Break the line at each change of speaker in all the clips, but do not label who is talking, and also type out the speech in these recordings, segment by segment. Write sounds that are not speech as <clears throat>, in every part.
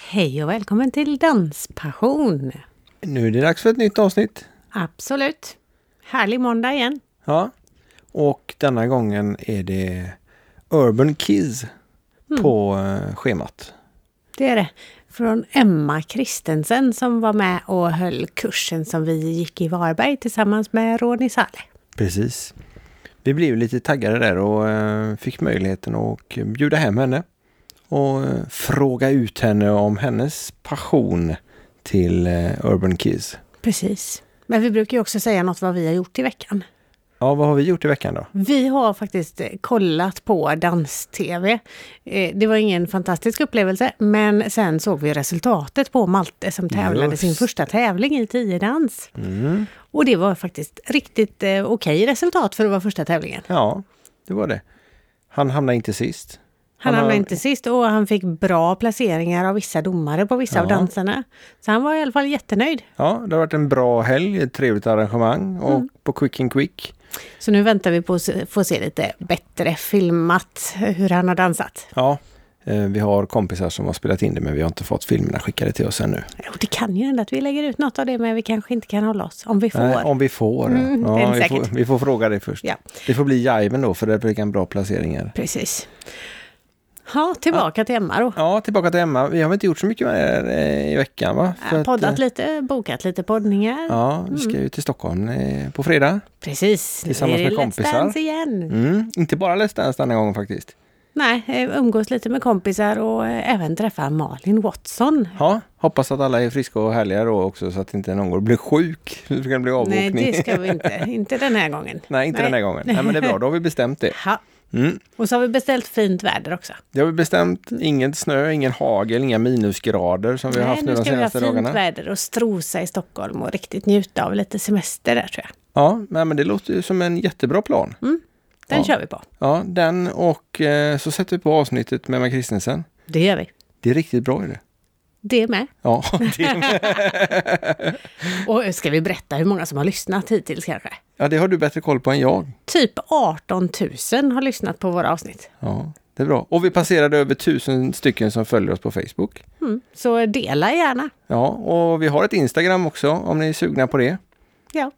Hej och välkommen till Danspassion!
Nu är det dags för ett nytt avsnitt.
Absolut! Härlig måndag igen!
Ja. Och denna gången är det Urban Kids på eh, schemat.
Det är det. Från Emma Kristensen som var med och höll kursen som vi gick i Varberg tillsammans med Ronny Saleh.
Precis. Vi blev lite taggade där och eh, fick möjligheten att bjuda hem henne och eh, fråga ut henne om hennes passion till eh, Urban Kids.
Precis. Men vi brukar ju också säga något vad vi har gjort i veckan.
Ja, vad har vi gjort i veckan då?
Vi har faktiskt eh, kollat på dans-tv. Eh, Det var ingen fantastisk upplevelse, men sen såg vi resultatet på Malte som tävlade sin
Just.
första tävling i tiodans.
Mm.
Och det var faktiskt riktigt eh, okej resultat för att vara första tävlingen.
Ja, det var det. Han hamnade inte sist.
Han
har-
hamnade inte sist och han fick bra placeringar av vissa domare på vissa av
Ja.
danserna. Så han var i alla fall jättenöjd.
Ja, det har varit en bra helg, ett trevligt arrangemang och på Quick and Quick
Så nu väntar vi på att se- få se lite bättre filmat hur han har dansat.
Ja, eh, vi har kompisar som har spelat in det men vi har inte fått filmerna skickade till oss ännu.
Och det kan ju hända att vi lägger ut något av det, men vi kanske inte kan hålla oss om vi får.
Nej, om vi får.
Mm, det är
ja,
det
vi, får
säkert.
vi får fråga dig först.
Ja.
Det får bli jiven då för det brukar en bra placeringar.
Precis. Ja, tillbaka till Emma då.
Ja, tillbaka till Emma. Vi har väl inte gjort så mycket med det här, eh, i veckan va? För
Ja,
att,
poddat Mm.
eh,
lite, bokat lite poddningar.
Ja, vi ska ju till Stockholm eh, på fredag.
Precis, nu
Tillsammans
är det
med
Let's
kompisar.
Dance igen.
Mm, inte bara Let's Dance denna gången faktiskt.
Nej, eh, umgås lite med kompisar och eh, även träffa Malin Watson.
Ja, hoppas att alla är friska och härliga då också så att inte någon går och blir sjuk. <laughs> Det kan bli
Nej,
avåkning.
det ska vi
<laughs>
inte. Inte den här gången.
Nej, inte den här gången. Nej, men det
<laughs>
är bra. Då har vi bestämt det.
Ja.
Mm.
Och så har vi beställt fint väder också.
Det har vi bestämt. Inget snö, ingen hagel, inga minusgrader som vi har
Nej,
haft nu
nu
de
ska vi ha
senaste
fint
dagarna.
väder och strosa i Stockholm och riktigt njuta av lite semester där tror jag.
Ja, nej, men det låter ju som en jättebra plan.
Den
Ja.
kör vi på.
Ja, den och eh, så sätter vi på avsnittet med Emma Kristensen.
Det gör vi.
Det är riktigt bra är det.
Det med.
Ja, <laughs> det,
Och eh, ska vi berätta hur många som har lyssnat hittills kanske?
ja, det har du bättre koll på än jag.
Typ 18 000 har lyssnat på våra avsnitt.
Ja, det är bra. Och vi passerade över tusen stycken som följer oss på Facebook.
Mm. Så dela gärna.
Ja, och vi har ett Instagram också om ni är sugna på det.
Ja,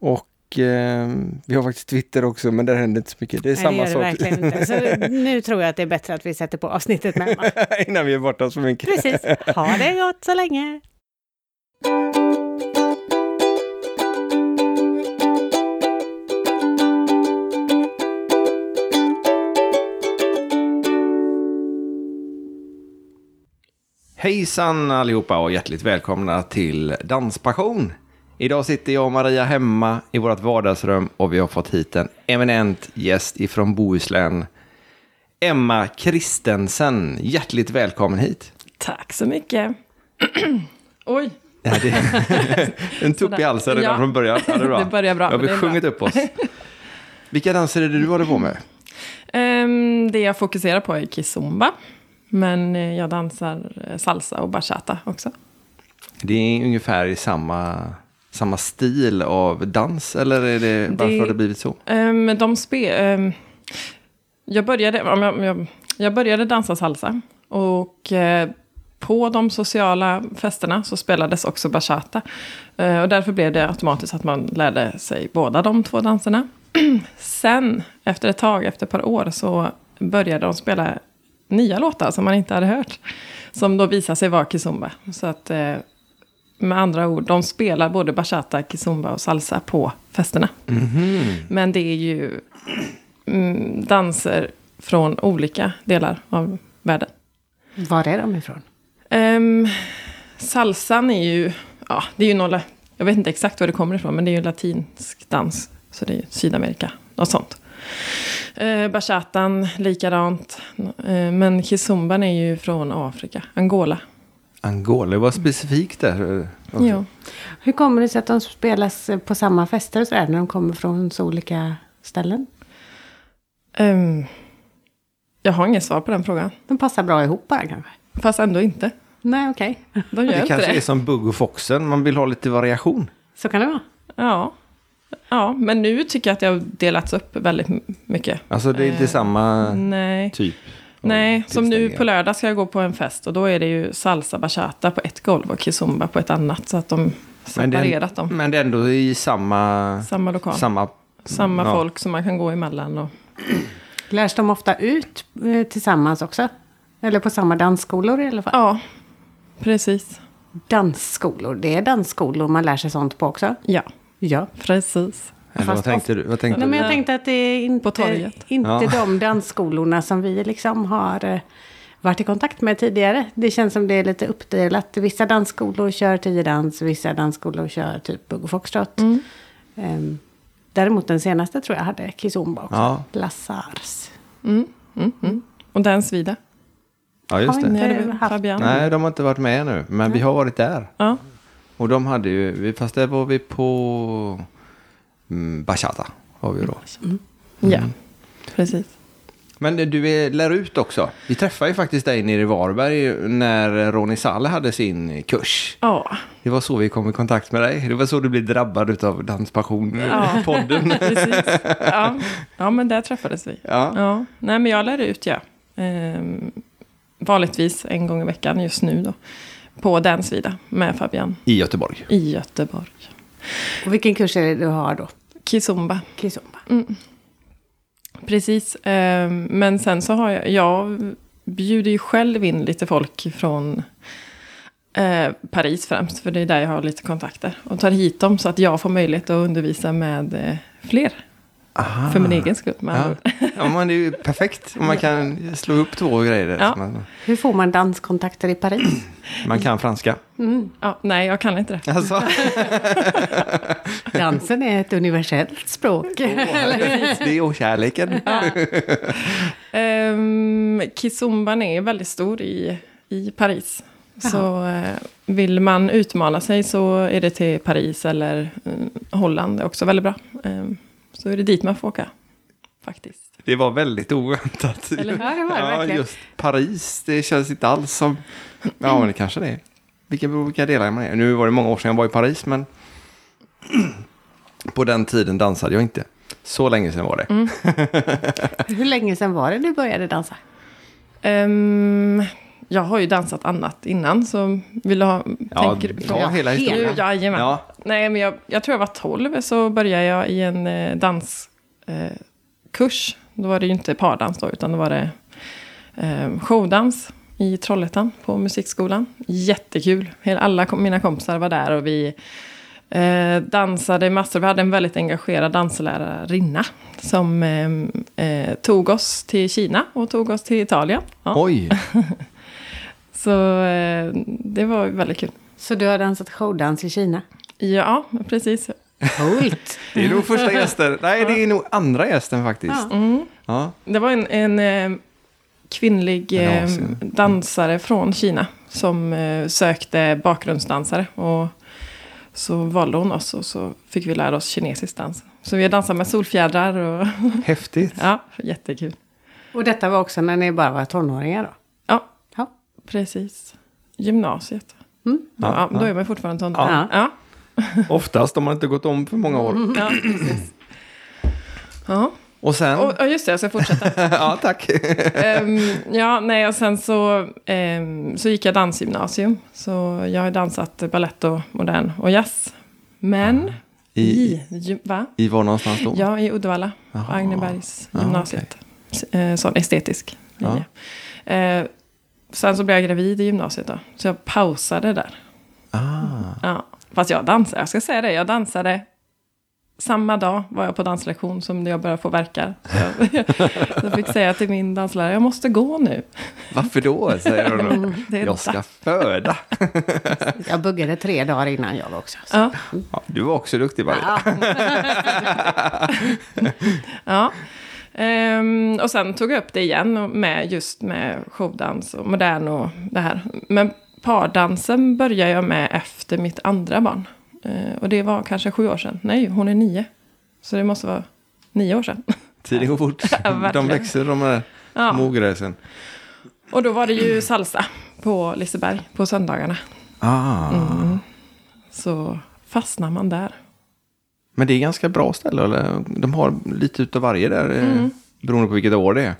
Och eh, vi har faktiskt Twitter också, men där händer inte så mycket. Det är
Nej,
samma
det gör det
sak
verkligen inte. Så nu tror jag att det är bättre att vi sätter på avsnittet
<laughs>
med Emma.
innan vi är borta så mycket.
Precis. Ha det gott så länge.
Hejsan allihopa och hjärtligt välkomna till Danspassion. Idag sitter jag och Maria hemma i vårt vardagsrum och vi har fått hit en eminent gäst ifrån Bohuslän. Emma Kristensen, hjärtligt välkommen hit.
Tack så mycket. Oj,
Ja, det- en tupp i
Sådär.
halsen redan
Ja.
från början.
<laughs>
Ja, det, är bra.
Det börjar bra,
Då har
men
vi
det är bra.
sjungit
<laughs>
upp oss. Vilka danser är det du håller på med?
Ehm, det jag fokuserar på är kizomba. Men eh, jag dansar eh, salsa och bachata också.
Det är ungefär i samma, samma stil av dans, eller är det, varför
Det-
har det blivit så?
Ehm, de spe, ehm, jag, började, om jag, om jag, jag började dansa salsa. Och eh, på de sociala festerna så spelades också bachata. Eh, och därför blev det automatiskt att man lärde sig båda de två danserna. <clears throat> Sen, efter ett tag, efter ett par år, så började de spela nya låtar som man inte hade hört. Som då visade sig vara kizomba. Så att, eh, med andra ord, de spelar både bachata, kizomba och salsa på festerna. Men det är ju mm, danser från olika delar av världen.
Var är de ifrån?
Ehm, salsan är ju, ja, det är ju några, jag vet inte exakt var det kommer ifrån, men det är ju latinsk dans. Så det är ju Sydamerika, något sånt. Uh, bachatan, likadant. Eh, men kizomban är ju från Afrika, Angola.
Angola, det var specifikt där.
Ja.
Hur kommer det sig att de spelas eh, på samma fester och sådär när de kommer från så olika ställen?
Ehm, jag har inget svar på den frågan.
De passar bra ihop bara kanske?
Fast ändå inte.
Nej, okej.
De gör
Det
inte
kanske
det.
är som Bugg och Foxen, man vill ha lite variation.
Så kan det vara.
Ja. ja, men nu tycker jag att det har delats upp väldigt m- mycket.
Alltså det är inte samma
Nej.
typ.
Eh, mm. Nej, som nu
tillställningar.
på lördag ska jag gå på en fest och då är det ju salsa bachata på ett golv och kizomba på ett annat. Så att de
Men det,
separerat
är- Mm,
dem.
men det är ändå i samma...
Samma lokal. Samma,
Samma, ja.
folk som man kan gå emellan. Och,
Lärs de ofta ut eh, tillsammans också? Eller på samma dansskolor i alla fall?
ja, precis.
Dansskolor, det är dansskolor man lär sig sånt på också?
Ja,
Ja.
precis.
Eller
Fast
vad tänkte du? Vad tänkte
Nej,
du?
men jag tänkte att det är
På
inte,
torget.
inte
Ja.
de dansskolorna som vi liksom har eh, varit i kontakt med tidigare. Det känns som det är lite uppdelat. Vissa dansskolor kör tiodans, vissa dansskolor kör typ bugg och foxtrot. Ehm, däremot den senaste tror jag hade kizomba också.
Ja.
Lazars.
Och den svider.
Ja, just
Har inte-
det.
När
har
du
haft-
Fabian.
Nej, de har inte varit med nu. Men vi har varit där.
Ja,
Och de hade ju... vi- Fast där var vi på... Mm, bachata var vi då.
ja.
Mm.
precis.
Men du är, lär ut också. Vi träffade ju faktiskt dig nere i Varberg när Ronny Salle hade sin kurs.
Ja,
Det var så vi kom i kontakt med dig. Det var så du blev drabbad av <laughs>
Ja.
Danspassion-podden.
<laughs> precis. Ja. ja, men där träffades vi.
Ja.
Ja, nej men jag lär ut ja. Ehm, vanligtvis en gång i veckan just nu då. På Dansvida med Fabian
I Göteborg.
i Göteborg.
Och vilken kurs är det du har då?
Kizomba.
Kizomba.
Precis, ehm, men sen så har jag, jag bjuder ju själv in lite folk från eh, Paris främst, för det är där jag har lite kontakter. Och tar hit dem så att jag får möjlighet att undervisa med eh, fler. För min egen skull. Med andra
Ja.
ord.
ja, men det är ju perfekt om man kan slå upp två grejer.
Ja.
Så Man,
Hur får man danskontakter i
<clears throat>
Paris?
man kan franska.
ja, nej, jag kan inte det.
Alltså.
Dansen är ett universellt språk.
det är okärleken.
Um, Kizomban är väldigt stor i, i Paris. Så eh, vill man utmana sig så är det till Paris eller eh, Holland är också väldigt bra. Ehm, så är det dit man får åka, faktiskt.
Det var väldigt oväntat.
Eller hur?
Ja, det var det
ja,
verkligen.
just Paris, det känns inte alls som... Ja, men det kanske det är. Vilka, vilka delar man är. Nu var det många år sedan jag var i Paris, men... <clears throat> På den tiden dansade jag inte. Så länge sedan var det.
Hur länge sedan var det du började dansa?
Ehm, jag har ju dansat annat innan, så vill du ha...
Ja,
tänker du-
ta hela
hela.
historien.
Ja, jajamän.
Ja.
Nej, men jag, jag tror jag var 12 så började jag i en eh, danskurs. Eh, kurs. då var det ju inte pardans då, utan då var det eh, showdans i Trollhättan på musikskolan. Jättekul. Hela, alla kom, mina kompisar var där och vi eh, dansade massor. Vi hade en väldigt engagerad danslärarinna som eh, eh, tog oss till Kina och tog oss till Italien. Ja.
Oj,
Så eh, det var väldigt kul.
Så du har dansat showdans i Kina?
Ja, precis.
Coolt!
det är nog
<laughs>
första gästen. Nej, det är nog andra gästen faktiskt.
Ja.
Mm.
Ja.
Det var en, en eh, kvinnlig
En
eh,
asien. Mm.
dansare från Kina som eh, sökte bakgrundsdansare. Och så valde hon oss och så fick vi lära oss kinesisk dans. Så vi har dansat med solfjädrar och <laughs>
Häftigt.
ja, jättekul.
Och detta var också när ni bara var tonåringar då?
Ja,
Ja.
precis. Gymnasiet. Ja,
Mm. Ja,
då är man fortfarande tonåring.
Ja.
Ja.
Oftast om man inte gått om för många år.
Ja, precis. Ja,
Och sen...
och, och just det, jag ska fortsätta.
<laughs> ja, tack.
Ehm, ja, nej, och sen så, ehm, så gick jag dansgymnasium. Så jag har dansat ballett och modern och jazz. Men
I-
i, ju- va?
I var någonstans då?
Ja, i Uddevalla, på
Jaha.
Agnebergs
Ja,
gymnasiet. Eh, Sån estetisk linje. Eh, sen så blev jag gravid i gymnasiet då. Så jag pausade där.
Ah.
Ja. Fast jag dansade, jag ska säga det, jag dansade samma dag var jag på danslektion som jag började få verkar. Så jag, jag fick säga till min danslärare, jag måste gå nu.
Varför då? säger
<laughs>
hon. då.
Mm, det är
jag ska föda.
Jag buggade tre dagar innan jag var också.
Ja,
Ja, du var också duktig Maria.
ja. Ehm, och sen tog jag upp det igen och med just med showdans och modern och det här. Men pardansen började jag med efter mitt andra barn. Eh, och det var kanske sju år sedan. Nej, hon är nio. Så det måste vara nio år sedan. <laughs>
Tiden går fort.
Ja, verkligen.
de växer de här
Ja.
små gräsen.
Och då var det ju salsa på Liseberg på söndagarna.
Ah.
Så fastnar man där.
Men det är eh, ganska bra ställe, eller? De har lite utav varje där, mm. beroende på vilket år det är.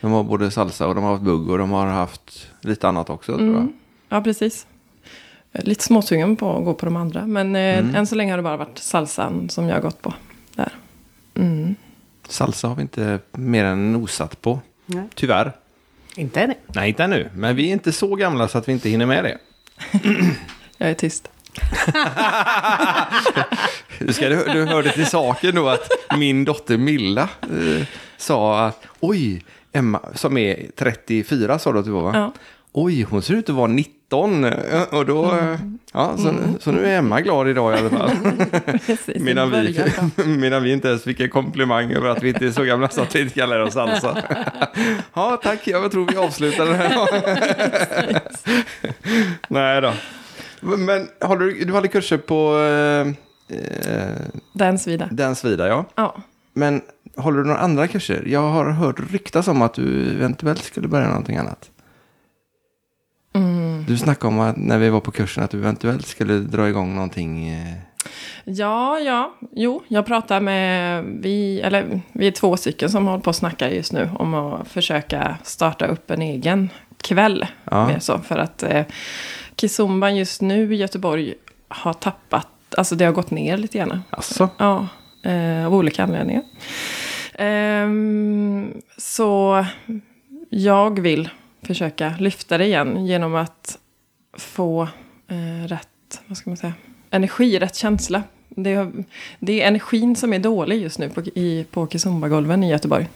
De har både salsa och de har haft bugg och de har haft lite annat också tror jag.
Ja, precis. Jag är Lite småsugen på att gå på de andra. Men eh, än så länge har det bara varit salsan som jag har gått på. Där.
Salsa har vi inte mer än nosat på.
Nej.
Tyvärr.
Inte ännu.
Nej, inte ännu. Men vi är inte så gamla så att vi inte hinner med det.
Jag är tyst.
Du, ska, du, du hörde till saken då att min dotter Milla eh, sa att oj, Emma som är 34 sa du att du var va?
Ja.
Oj, hon ser ut att vara 19. eh, Och då, eh, ja, så, så nu är Emma glad idag i alla fall.
<laughs> Precis,
Medan
det
vi,
börjar bra.
<laughs> medan vi inte ens fick en komplimang över att vi inte är så gamla så att vi inte kallar oss salsa. Ja, tack. Jag tror vi avslutar den här Nej då. Men har du, du hade kurser på eh, eh,
Dans vidare.
Dansvida, ja.
Ja.
Men håller du några andra kurser? Jag har hört ryktas om att du eventuellt skulle börja någonting annat.
Mm.
Du snackade om att när vi var på kursen att du eventuellt skulle dra igång någonting. eh,
Ja, ja, jo, jag pratar med, vi, eller vi är två stycken som håller på och snackar just nu om att försöka starta upp en egen kväll.
Ja.
Mer så, för att eh, Kizumban just nu i Göteborg har tappat, alltså det har gått ner lite grann.
Alltså,
Ja, eh, av olika anledningar. Ehm, så jag vill försöka lyfta det igen genom att få eh, rätt, vad ska man säga, energi, rätt känsla. Det är, det är energin som är dålig just nu på, i, på Kizumba-golven i Göteborg.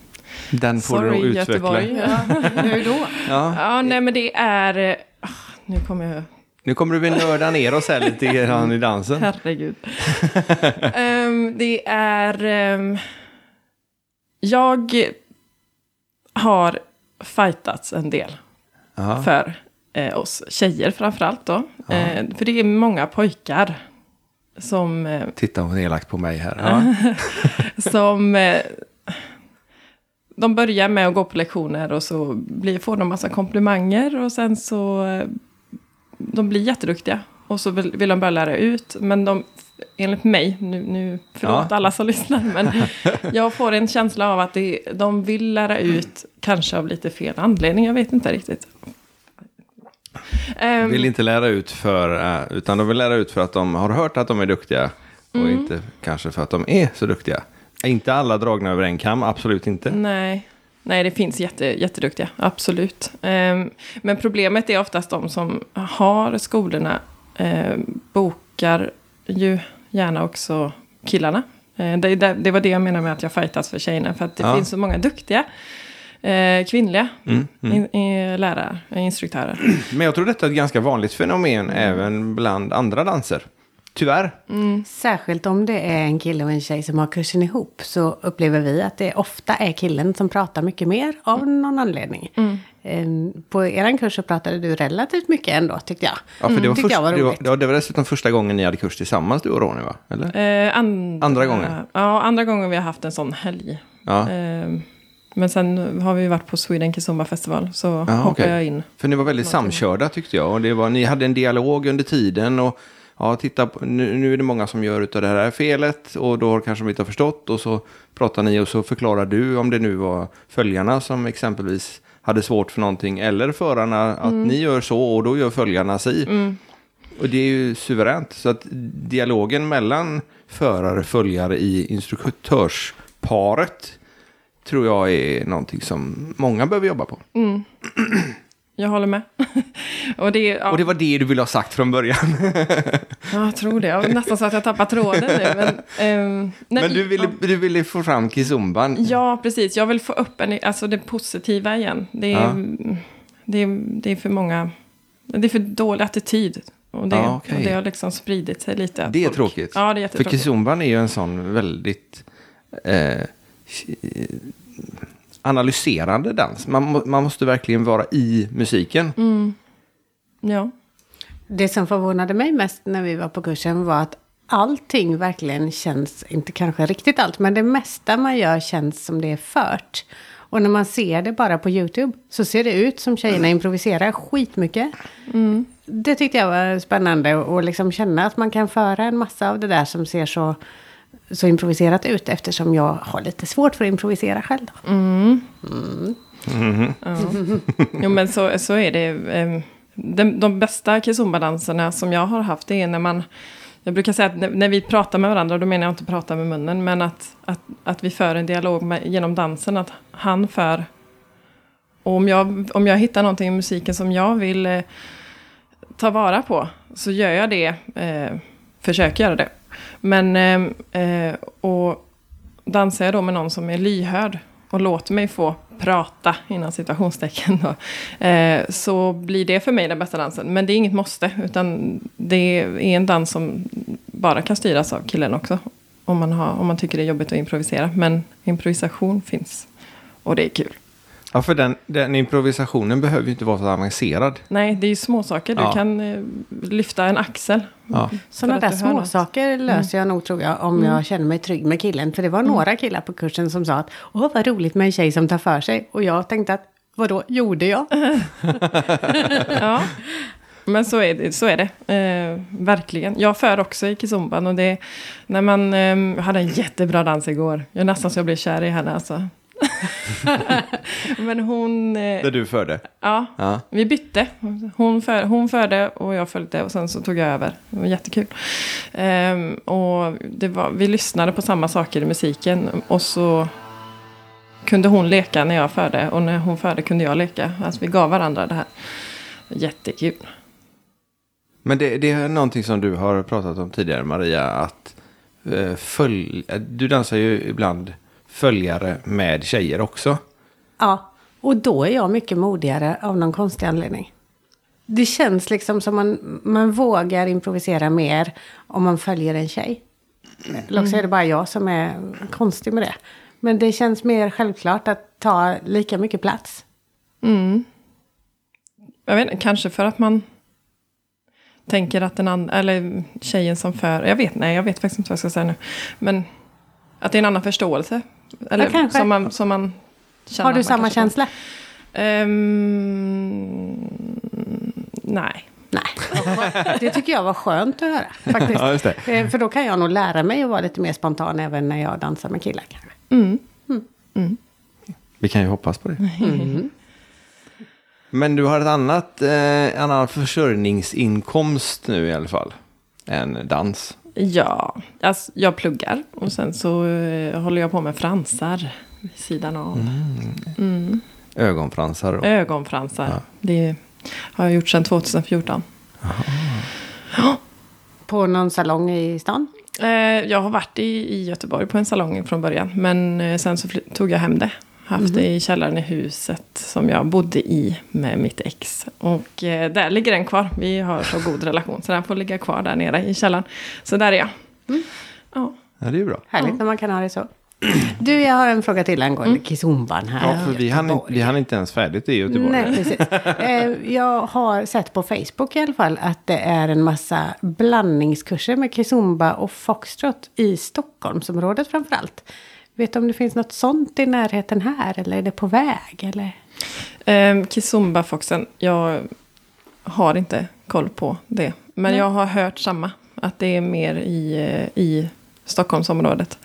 den får du nog
Sorry
utveckla.
Göteborg. Ja.
Hur då?
Ja,
ja, nej men det är... eh, ah, Nu kommer jag
nu kommer du väl nörda ner oss här lite
<laughs>
grann i dansen.
Herregud. <laughs> Ehm, det är... ehm, jag har fightats en del
Ja.
för eh, oss tjejer framförallt då. Eh, för det är många pojkar som, eh,
Titta hon är elakt på mig här. Ja.
<laughs> som eh, de börjar med att gå på lektioner och så blir, får de massa komplimanger och sen så eh, de blir jätteduktiga och så vill, vill de börja lära ut. Men de, enligt mig, nu, nu förlåt
Ja.
alla som lyssnar, men
<laughs>
jag får en känsla av att det, de vill lära ut, kanske av lite fel anledning, jag vet inte riktigt. Ehm,
Vill inte lära ut för, eh, utan de vill lära ut för att de har hört att de är duktiga. Och
Mm.
inte kanske för att de är så duktiga. Är inte alla dragna över en kam, absolut inte.
Nej. Nej, det finns jätte, jätteduktiga, absolut. Ehm, men problemet är oftast de som har skolorna ehm, bokar ju gärna också killarna. Ehm, det, det, det var det jag menade med att jag fightas för tjejerna, för att det
Ja. Mm,
finns så många duktiga eh, kvinnliga In, eh, lärare, eh, instruktörer.
Men jag tror detta är ett ganska vanligt fenomen även bland andra danser. Tyvärr.
Mm. Särskilt om det är en kille och en tjej som har kursen ihop så upplever vi att det ofta är killen som pratar mycket mer av någon anledning. Ehm, På er kurs så pratade du relativt mycket ändå tyckte jag.
Ja, för det, var
Mm, tyckte
först,
jag var
det, var,
roligt.
det var- det var dessutom första gången ni hade kurs tillsammans, du och Ronny va? Eller?
Eh, and-
Andra gången.
Ja, andra gången vi har haft en sån helg.
Ja.
Ehm, men sen har vi varit på Sweden Kizomba Festival, så
Ja,
hoppade
okej.
jag in.
För ni var väldigt samkörda tyckte jag. Och det var, ni hade en dialog under tiden. Och ja, titta, på- nu, nu är det många som gör utav det här felet. Och då kanske de inte har förstått. Och så pratar ni och så förklarar du om det nu var följarna som exempelvis hade svårt för någonting. Eller förarna, att
Mm.
ni gör så och då gör följarna si. Och det är ju suveränt. Så att dialogen mellan förare och följare i instruktörsparet tror jag är någonting som många behöver jobba på.
Jag håller med. <laughs> och det, är- ja,
Och det var det du ville ha sagt från början.
ja, jag tror det. Jag var nästan så att jag tappar tråden nu.
<laughs>
Men, ehm, nej,
Men du ville,
ja.
du ville få fram kizumban.
Ja, precis. Jag vill få upp en, alltså det positiva igen. Det är,
Ja.
det, är, det är för många... Det är för dålig attityd. Och det,
Ja, okej.
och det har liksom spridit sig lite. att
det är
folk-
tråkigt.
Ja, det är
För
jättetråkigt.
kizumban är ju en sån väldigt eh, analyserande dans. Man, må- man måste verkligen vara i musiken.
Mm. Ja.
Det som förvånade mig mest när vi var på kursen var att allting verkligen känns, inte kanske riktigt allt, men det mesta man gör känns som det är fört. Och när man ser det bara på YouTube så ser det ut som tjejerna improviserar skitmycket. Det tyckte jag var spännande och liksom känna att man kan föra en massa av det där som ser så, så improviserat ut eftersom jag har lite svårt för att improvisera själv.
Ja. Jo, men så, så är det. ehm, De, de bästa kizombadanserna som jag har haft är när man... Jag brukar säga att när, när vi pratar med varandra, och då menar jag inte prata med munnen, men att, att, att vi för en dialog med, genom dansen, att han för... Och om jag, om jag hittar någonting i musiken som jag vill eh, ta vara på, så gör jag det, eh, försöker göra det. Men, eh, eh, och dansar jag då med någon som är lyhörd och låter mig få prata, innan citationstecken då, eh, så blir det för mig den bästa dansen. Men det är inget måste, utan det är en dans som bara kan styras av killen också. Om man, har, om man tycker det är jobbigt att improvisera. Men improvisation finns. Och det är kul.
Ja, för den, den improvisationen behöver ju inte vara så avancerad.
Nej, det är ju små saker. Du
Ja.
kan eh, lyfta en axel.
Ja.
Sådana
att
där
du hör
små
något. Mm.
saker löser jag nog tror jag om jag känner mig trygg med killen. För det var några killar på kursen som sa att åh vad roligt med en tjej som tar för sig. Och jag tänkte att vadå, gjorde
<laughs>
jag?
ja. Men så är det. Så är det. Eh, verkligen. Jag för också i kizomban. Och det, när man eh, hade en jättebra dans igår. Jag är nästan så jag blev kär i henne alltså. <laughs> Men hon... Eh,
Det du förde.
ja,
Ja.
vi bytte. Hon, för, hon förde och jag följde och sen så tog jag över. Det var jättekul. Ehm, och det var, vi lyssnade på samma saker i musiken och så kunde hon leka när jag förde och när hon förde kunde jag leka. Alltså vi gav varandra det här. Jättekul.
Men det, det är någonting som du har pratat om tidigare Maria, att eh, följ, eh, du dansar ju ibland följare med tjejer också.
Ja, och då är jag mycket modigare av någon konstig anledning. Det känns liksom som man, man vågar improvisera mer om man följer en tjej. Eller också är
Mm.
det bara jag som är konstig med det. Men det känns mer självklart att ta lika mycket plats.
Jag vet inte, kanske för att man tänker att den andra, eller tjejen som för, jag vet, nej jag vet faktiskt inte vad jag ska säga nu. Men att det är en annan förståelse. Eller
kanske.
som man, som man känner
Har
att
du
man
samma
kanske-
känsla?
Ehm, nej.
Nej. <laughs> Det tycker jag var skönt att höra. Faktiskt.
<laughs> Ja, just det.
Eh, För då kan jag nog lära mig att vara lite mer spontan även när jag dansar med killar. kanske.
Vi kan ju hoppas på det. Men du har ett annat, eh, annan försörjningsinkomst nu i alla fall, än dans.
Ja, alltså, jag pluggar och sen så eh, håller jag på med fransar vid sidan av.
Ögonfransar.
Eh.
Och,
Ögonfransar. Det har jag gjort sedan 2014.
På någon salong i stan?
Eh, jag har varit i, i Göteborg på en salong från början. Men eh, sen så fly- tog jag hem det. Haft det i källaren i huset som jag bodde i med mitt ex. Och eh, där ligger den kvar. Vi har så god relation. Så den får ligga kvar där nere i källaren. Så där är jag. Ja.
ja, det är ju bra.
Härligt när man kan ha det så. Du, jag har en fråga till angående kizomban här.
Ja, för vi hann, vi hann inte ens färdigt i Göteborg.
Nej, precis. Eh, Jag har sett på Facebook i alla fall att det är en massa blandningskurser med kizomba och foxtrot i Stockholmsområdet framför allt. Vet du om det finns något sånt i närheten här eller är det på väg? Eller?
Um, Kizomba-foxen, jag har inte koll på det. Men jag har hört samma. Att det är mer i, eh, i Stockholmsområdet.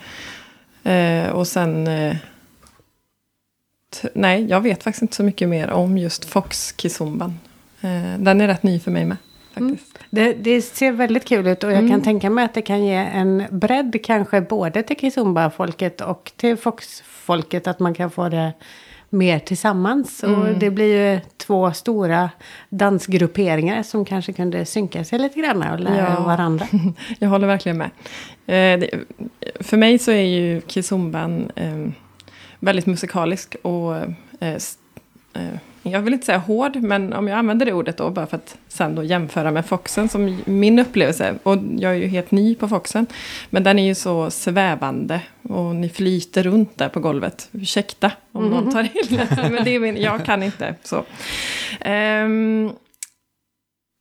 Eh, och sen... eh, t- nej, jag vet faktiskt inte så mycket mer om just fox-kizomban. Eh, den är rätt ny för mig med. Faktiskt.
Det, det ser väldigt kul ut och jag kan tänka mig att det kan ge en bredd kanske både till kizomba-folket och till fox-folket. Att man kan få det mer tillsammans. Och det blir ju två stora dansgrupperingar som kanske kunde synka sig lite grann och lära
Ja.
varandra.
Jag håller verkligen med. Eh, det, för mig så är ju kizomban eh, väldigt musikalisk och eh, s- eh, jag vill inte säga hård, men om jag använder det ordet då, bara för att sen då jämföra med Foxen, som ju- min upplevelse, och jag är ju helt ny på Foxen, men den är ju så svävande och ni flyter runt där på golvet. Ursäkta om någon tar illa sig, men det är min, jag kan inte så. Ehm,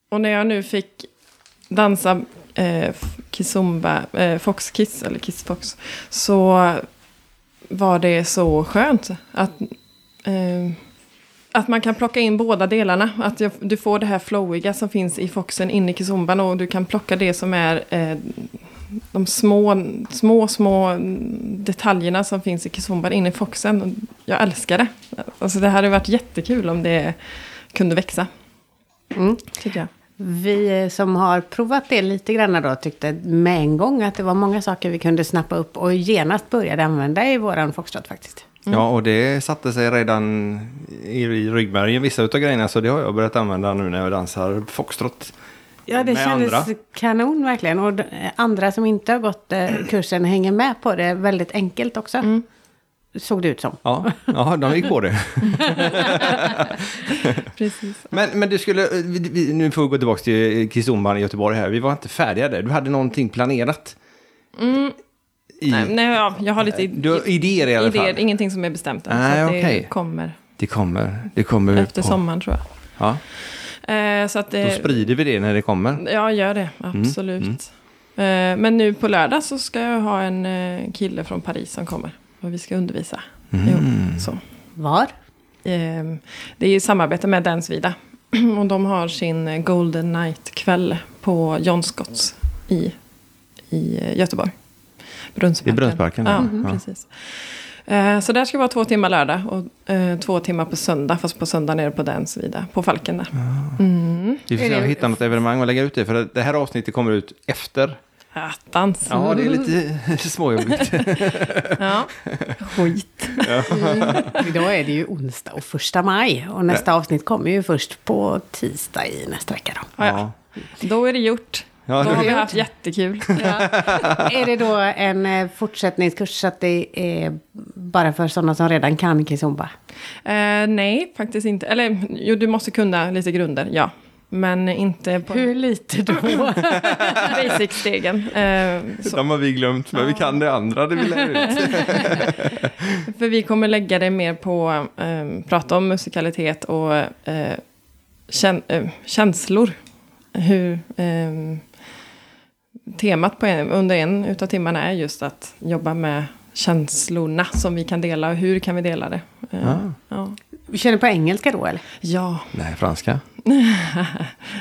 och när jag nu fick dansa eh, Kizomba, eh, Fox Kiss, eller Kiss Fox, så var det så skönt att, eh, att man kan plocka in båda delarna. Att jag, du får det här flowiga som finns i Foxen inne i Kizomban och du kan plocka det som är eh, de små, små, små detaljerna som finns i Kizomban inne i Foxen. jag älskar det. Alltså det hade varit jättekul om det kunde växa.
Mm.
Tycker jag.
Vi eh, som har provat det lite grann då tyckte med en gång att det var många saker vi kunde snappa upp och genast började använda i våran foxtrot faktiskt.
Ja, och det satte sig redan i i ryggmärgen, vissa utav grejerna. Så det har jag börjat använda nu när jag dansar foxtrot.
Ja, det
med
kändes
andra.
kanon verkligen. Och d- andra som inte har gått eh, kursen hänger med på det väldigt enkelt också. Såg det ut som.
Ja, ja, de gick på det.
Precis.
Men, men du skulle, vi- vi- nu får vi gå tillbaka till Kizomban i Göteborg här. Vi var inte färdiga där. Du hade någonting planerat. I,
Nej, nej, ja, jag har lite
Du har idéer i alla
idéer,
fall.
ingenting som är bestämt än.
Nej,
så att
okej.
det kommer
Det kommer. Det kommer vi
efter
på.
sommaren tror jag.
Ja,
Eh, så att
då Mm,
det,
sprider vi det när det kommer.
Ja, gör det. Absolut. Eh, Men nu på lördag så ska jag ha en eh, kille från Paris som kommer. Och vi ska undervisa
Mm.
ihop. Så.
Var?
Eh, Det är i samarbete med Dansvida. <clears throat> Och de har sin eh, Golden Night-kväll på John Scotts i, i eh, Göteborg. Brunnsparken.
I Brunnsparken,
Ja,
ja. Ja.
precis. Eh, Så där ska vara två timmar lördag och eh, två timmar på söndag. Fast på söndag nere på Dansvida, på Falken där.
Vi får se om
Är
vi
det-
hittar något evenemang och lägga ut det. För det- det här avsnittet kommer ut efter.
Äh, Attans!
Ja, det är lite <laughs> småjobbigt.
Ja. Skit.
<laughs> Idag är det ju onsdag och första maj. Och nästa avsnitt kommer ju först på tisdag i nästa vecka då.
Ja, ja. Då är det gjort.
Ja,
då
det-
har vi haft jättekul.
Är det då en eh, fortsättningskurs så att det är bara för sådana som redan kan kizomba?
Eh, nej, faktiskt inte. Eller jo, du måste kunna lite grunder, ja. Men inte på
Hur lite då?
<laughs> basic-stegen. Eh,
<laughs>
så.
De har vi glömt, men vi kan det andra det vi lär ut.
För vi kommer lägga det mer på eh, prata om musikalitet och eh, kän- eh, känslor. Hur, eh, temat på en, under en utav timmarna är just att jobba med känslorna som vi kan dela och hur kan vi dela det. Eh, ja.
Vi <laughs> kör det på engelska då eller?
<laughs> ja,
<laughs> Nej, franska.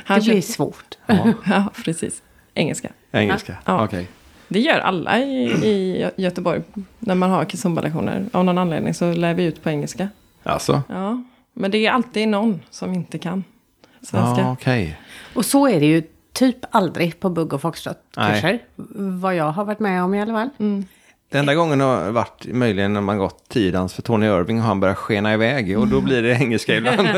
han
det blir
kör-
svårt.
<laughs> Ja, precis. Engelska.
Engelska.
Ja.
Okej.
Det gör alla i, i Gö- Göteborg när man har kizomba-lektioner. Av någon anledning så lär vi ut på engelska.
Alltså?
Ja. Men det är alltid någon som inte kan svenska.
Ja, okej.
Och så är det ju typ aldrig på bugg och foxtrot-kurser.
Nej.
Vad jag har varit med om i alla fall. Mm.
Det enda gången har varit möjligen när man gått tiodans för Tony Irving och han börjar skena iväg och då blir det
<laughs>
engelska ibland.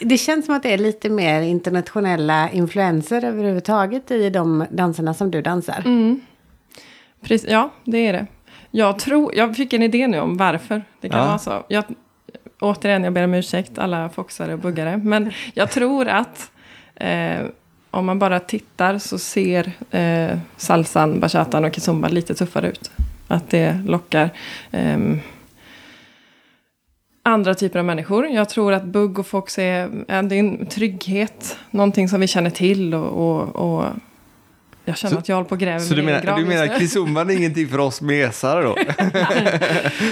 Det känns som att det är lite mer internationella influenser överhuvudtaget i de danserna som du dansar.
Precis, ja, det är det. Jag, tror, jag fick en idé nu om varför det kan
Ja.
vara så. Jag, återigen, jag ber om ursäkt alla foxare och buggare. Men jag tror att eh, om man bara tittar så ser eh, salsan, bachatan och kizomba lite tuffare ut. Att det lockar ehm, andra typer av människor. Jag tror att bugg och fox är, är det är en trygghet. Någonting som vi känner till och, och, och jag känner
Så-
att jag håller på och gräver
Så du
mig i en
menar,
grav
du
just nu.
menar kizomban är ingenting för oss mesare
<laughs>
då?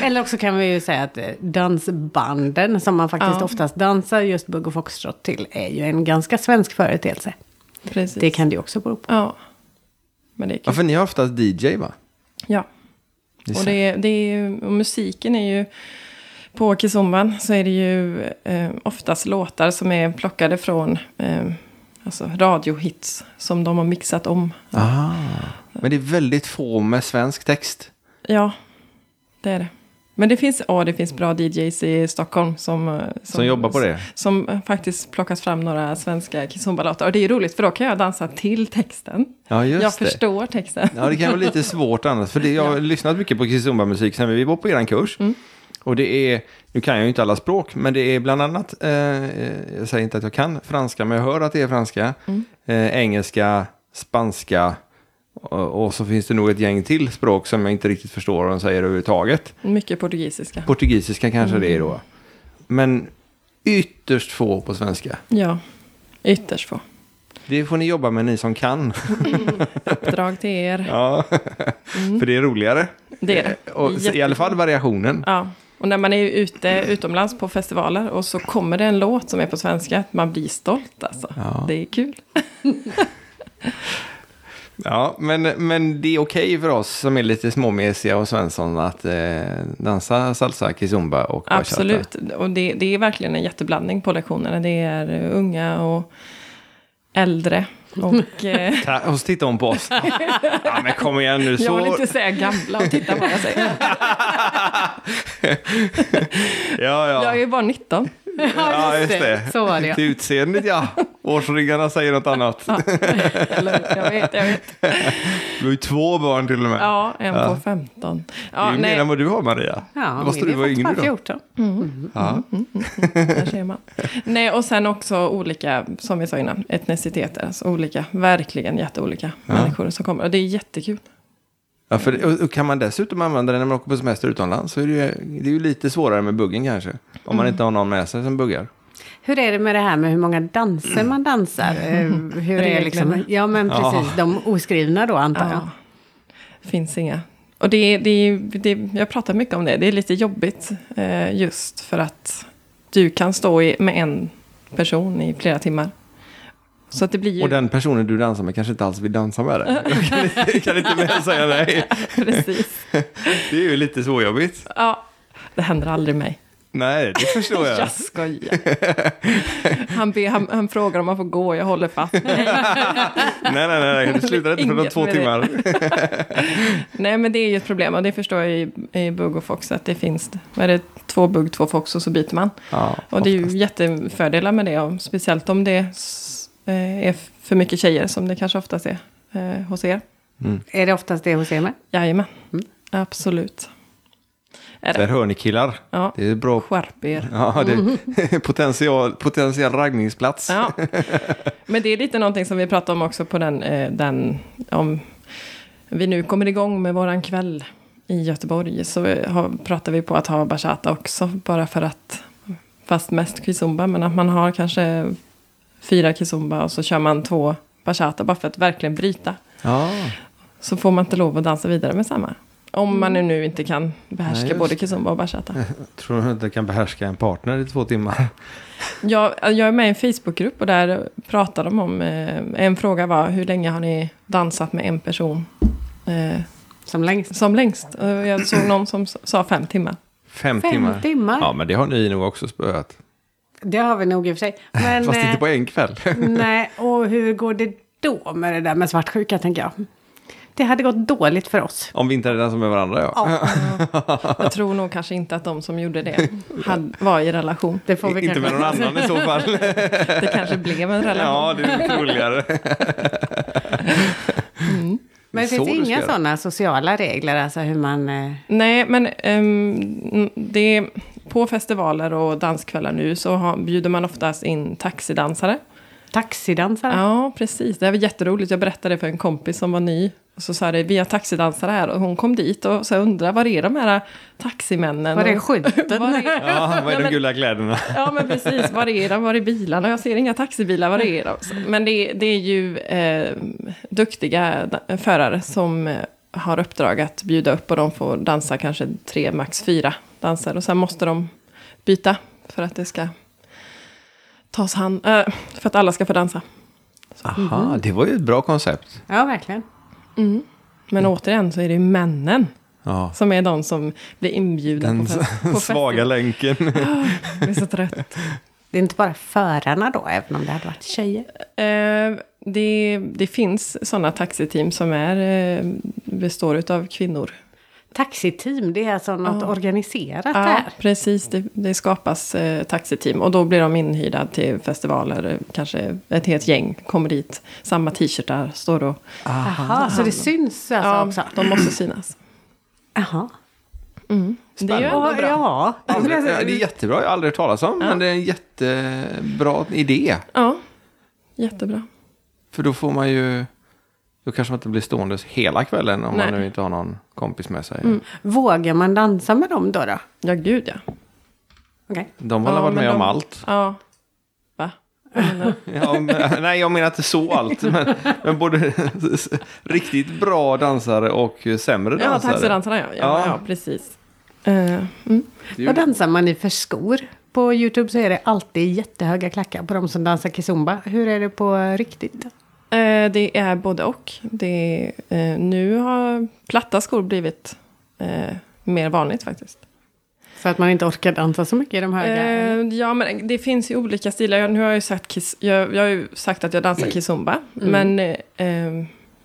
Eller också kan vi ju säga att eh, dansbanden som man faktiskt
Ja.
oftast dansar just bugg och foxtrot till är ju en ganska svensk företeelse.
Precis.
Det kan det ju också bero
<laughs>
på.
Ja. Men det är
Ja,
kul.
för ni har oftast DJ va?
Ja.
Det är
Och,
så-
det är, det är, ju- och musiken är ju... På kizomban så är det ju eh, oftast låtar som är plockade från eh, alltså radiohits som de har mixat om.
Ah. Men det är väldigt få med svensk text.
Ja, det är det. Men det finns, ja, det finns bra DJs i Stockholm som, eh, som,
Som jobbar på det?
Som eh, faktiskt plockat fram några svenska kizombalåtar. Och det är ju roligt för då kan jag dansa till texten.
Ja, just
jag
det.
förstår texten.
Ja, det kan vara lite svårt annars. För det, jag har lyssnat mycket på kizomba-musik sen vi var på er kurs.
Mm.
Och det är, nu kan jag ju inte alla språk, men det är bland annat, eh, eh, jag säger inte att jag kan franska, men jag hör att det är franska,
Mm.
eh, engelska, spanska och, och så finns det nog ett gäng till språk som jag inte riktigt förstår vad de säger överhuvudtaget.
Mycket portugisiska.
Portugisiska kanske det är
Mm.
då. Men ytterst få på svenska.
Ja, ytterst få.
Det får ni jobba med, ni som kan.
Uppdrag till er.
Ja, för det är roligare.
Det är det.
Och, I alla fall variationen.
Ja. Och när man är ute utomlands på festivaler och så kommer det en låt som är på svenska, att man blir stolt alltså.
Ja.
Det är kul.
Ja, men, men det är okej för oss som är lite småmesiga och Svensson att eh, dansa salsa, kizomba och bachata.
Absolut, och det, det är verkligen en jätteblandning på lektionerna. Det är eh, unga och äldre. Och, eh,
Ta- Och så tittar hon på oss. ja, men kom igen nu.
Jag vill
Så...
inte säga gamla och titta vad jag säger.
<laughs> Ja, ja.
Jag är bara 19.
ja, just det.
Så var det ja.
Till utseendet, ja. Årsringarna säger något annat.
Eller, jag vet, jag vet.
Du har ju två barn till och med.
Ja, en på 15.
det
Ja,
är ju mer
nej,
än vad du har, Maria.
Ja,
Då måste
min
du
är
vara yngre
fortfarande
då.
14.
Ja.
där ser man. nej, och sen också olika, som vi sa innan, etniciteter. Alltså olika, verkligen jätteolika människor som kommer. Och det är jättekul.
Ja, för, och, och kan man dessutom använda den när man åker på semester utomlands så är det ju, det är ju lite svårare med buggen kanske. Om
Mm.
man inte har någon med sig som buggar.
Hur är det med det här med hur många danser man dansar? Eh, Hur är liksom,
Reglerna.
ja men precis, de oskrivna då antar jag.
Ja. Finns inga. Och det, det, är ju- det, jag pratar mycket om det. Det är lite jobbigt eh, just för att du kan stå i, med en person i flera timmar. Så att det blir ju...
Och den personen du dansar med kanske inte alls vill dansa med dig. Jag kan, inte- jag kan inte mer säga nej.
<laughs> Precis.
Det är ju lite svårjobbigt.
Ja, det händer aldrig mig.
Nej, det förstår jag.
Jag skojar. Han, ber, han, han frågar om han får gå, jag håller fast.
Nej, nej, nej, nej. Du slutar inte förrän om
Inget
två
med det.
timmar.
Nej, men det är ju ett problem och det förstår jag i, i Bug och Fox att det finns, vad är det, två Bug, två Fox och så byter man.
Ja,
Och det är ju jättefördelar med det, och speciellt om det s- eh, är för mycket tjejer som det kanske oftast är eh, hos er.
Är det oftast det hos er med?
Jajamän, absolut. Är
Där
det?
hör ni killar.
Ja,
Det är bra.
skärp er.
Ja, det, <laughs> potential, potentiell raggningsplats.
Ja. Men det är lite någonting som vi pratade om också på den, eh, den om vi nu kommer igång med våran kväll i Göteborg så har, pratar vi på att ha bachata också bara för att fast mest kizomba men att man har kanske fyra kizomba och så kör man två bachata bara för att verkligen bryta.
Ja.
Så får man inte lov att dansa vidare med samma. Om man nu inte kan
Mm. Nej,
behärska
just
både kizomba och bachata.
Tror du inte kan behärska en partner i två timmar?
Jag, jag är med i en Facebookgrupp och där pratar de om... Eh, en fråga var hur länge har ni dansat med en person eh,
Som längst?
som längst? Och jag såg någon som s- sa fem timmar.
Fem,
Fem
timmar.
timmar.
Ja, men det har ni nog också spöat.
Det har vi nog i och för sig. Men,
<laughs> Fast
eh,
inte på en kväll.
Nej, och hur går det då med det där med svartsjuka tänker jag? Det hade gått dåligt för oss.
<laughs> Om vi inte hade dansat med varandra, ja.
Jag tror nog kanske inte att de som gjorde det hade, var i relation.
Det får vi
inte med
kanske...
någon annan i så fall.
Det kanske blev en relation.
ja, det är nog troligare.
Men
Så
finns det
du ska
inga
göra.
sådana sociala regler, alltså hur man... eh,
Nej, men ehm, det, på festivaler och danskvällar nu så har, bjuder man oftast in taxidansare.
Taxidansare?
Ja, precis. Det här var jätteroligt. Jag berättade för en kompis som var ny. Och så sa det, vi har taxidansare här. Och hon kom dit och så undrade, var är de här taximännen?
Var är
Och-
skylten?
Var är...
Ja, vad är de
Nej, men- Mhm.
gula kläderna?
Ja, men precis. Var är de? Var är bilarna? Jag ser inga taxibilar. Var är de? Så- Men det, det är ju eh, duktiga da- förare som eh, har uppdrag att bjuda upp. Och de får dansa kanske tre, max fyra danser. Och sen måste de byta för att det ska tas hand... eh, för att alla ska få dansa.
Aha, det var ju ett bra koncept.
Ja, verkligen.
Men återigen så är det ju männen
Ja.
som är de som blir inbjudna
Den
på,
<laughs>
fest, på fest.
svaga länken.
Jag är
<laughs>
så trött.
Det är inte bara förarna då, även om det hade varit tjejer.
Eh, det, det finns sådana taxiteam som är, eh, består av kvinnor.
Taxiteam, det är alltså något organiserat
Ja,
där.
precis. Det, det skapas eh, taxiteam och då blir de inhyrda till festivaler. eh, Kanske ett helt gäng kommer dit. Samma t-shirtar står och...
Jaha, så det syns alltså
Ja,
också?
de måste synas.
Jaha.
Det är ju ändå
Ja,
bra.
ja.
Aldrig, det är jättebra, jag har aldrig hört talas om, men det är en jättebra idé.
Ja, jättebra.
För då får man ju... Då kanske man inte blir stående hela kvällen om
Nej.
man nu inte har någon kompis med sig.
Vågar man dansa med dem då? då?
Ja, gud ja.
Okej.
De har
Ja,
varit
men
med om
de-
allt.
Ja. Va?
Ja, men, <laughs> nej, jag menar inte så allt. Men, men både <laughs> riktigt bra dansare och sämre
Ja,
dansare.
taxidansarna ja. Ja,
Ja.
ja. ja precis. Eh, mm.
Det är ju-
Vad dansar man i för skor? På YouTube så är det alltid jättehöga klackar på de som dansar kizomba. Hur är det på riktigt?
Eh, det är både och. Det är, eh, nu har platta skor blivit eh, mer vanligt faktiskt.
För att man inte orkar dansa så mycket i de höga.
Eh, ja, men det finns ju olika stilar. Jag, nu har jag, ju sagt, kis, jag, jag har ju sagt att jag dansar kizomba. Men, eh, eh,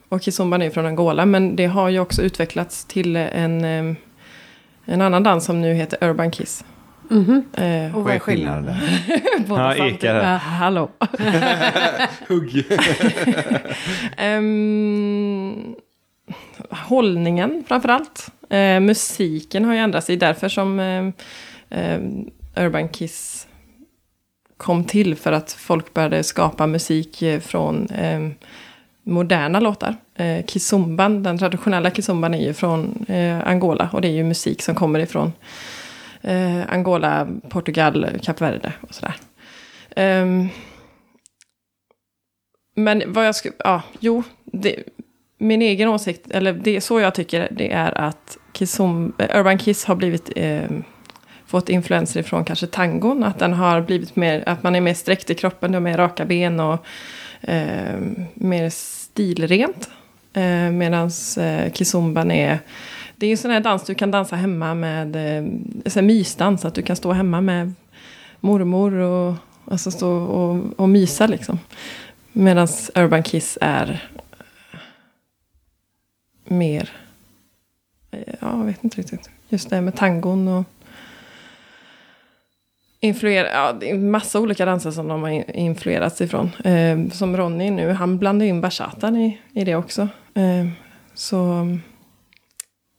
och kizomban är ju från Angola. Men det har ju också utvecklats till en, eh, en annan dans som nu heter urban kiss. Eh,
och vad är skillnaden?
skillnaden?
båda
Ja,
samtidigt.
ekar det.
Ja, Hallå.
Hugg.
Ehm, hållningen framför allt. Eh, musiken har ju ändrats. Det är därför som ehm, ehm, Urban Kiss kom till. För att folk började skapa musik eh, från ehm, moderna låtar. Eh, kizomban, den traditionella kizomban är ju från eh, Angola. Och det är ju musik som kommer ifrån eh, Angola, Portugal, Kap Verde och sådär. Ehm, men vad jag skulle, ja, jo, det, min egen åsikt, eller det är så jag tycker, det är att Kizom, eh, Urban Kiss har blivit, eh, fått influenser ifrån kanske tangon, att den har blivit mer, att man är mer sträckt i kroppen, de är mer raka ben och eh, mer stilrent. Eh, Medan eh, kizomban är, det är en sån här dans du kan dansa hemma med, eh, så här mysdans, att du kan stå hemma med mormor och, alltså stå och, och mysa liksom. Medan Urban Kiss är eh, mer, eh, ja, jag vet inte riktigt. Just det här med tangon och influera, ja, det är en massa olika danser som de har in- influerats ifrån. Eh, som Ronny nu, han blandar in bachatan i, i det också. Eh, så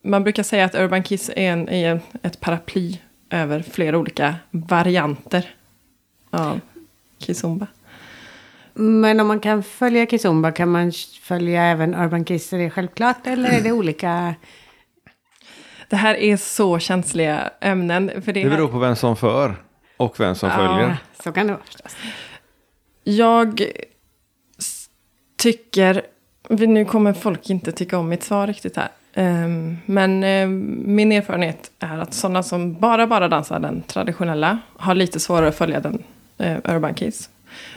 man brukar säga att Urban Kiss är, en, är en, ett paraply över flera olika varianter av kizomba.
Men om man kan följa Kizomba, kan man följa även Urban Kiss? Är det självklart? Eller är det olika?
Det här är så känsliga ämnen. För det
Det
här,
beror på vem som för och vem
Ah.
som följer.
Ja, så kan det vara förstås.
jag s- tycker... Nu kommer folk inte tycka om mitt svar riktigt här. Ehm, Men ehm, min erfarenhet är att sådana som bara, bara dansar den traditionella har lite svårare att följa den eh, Urban Kiss.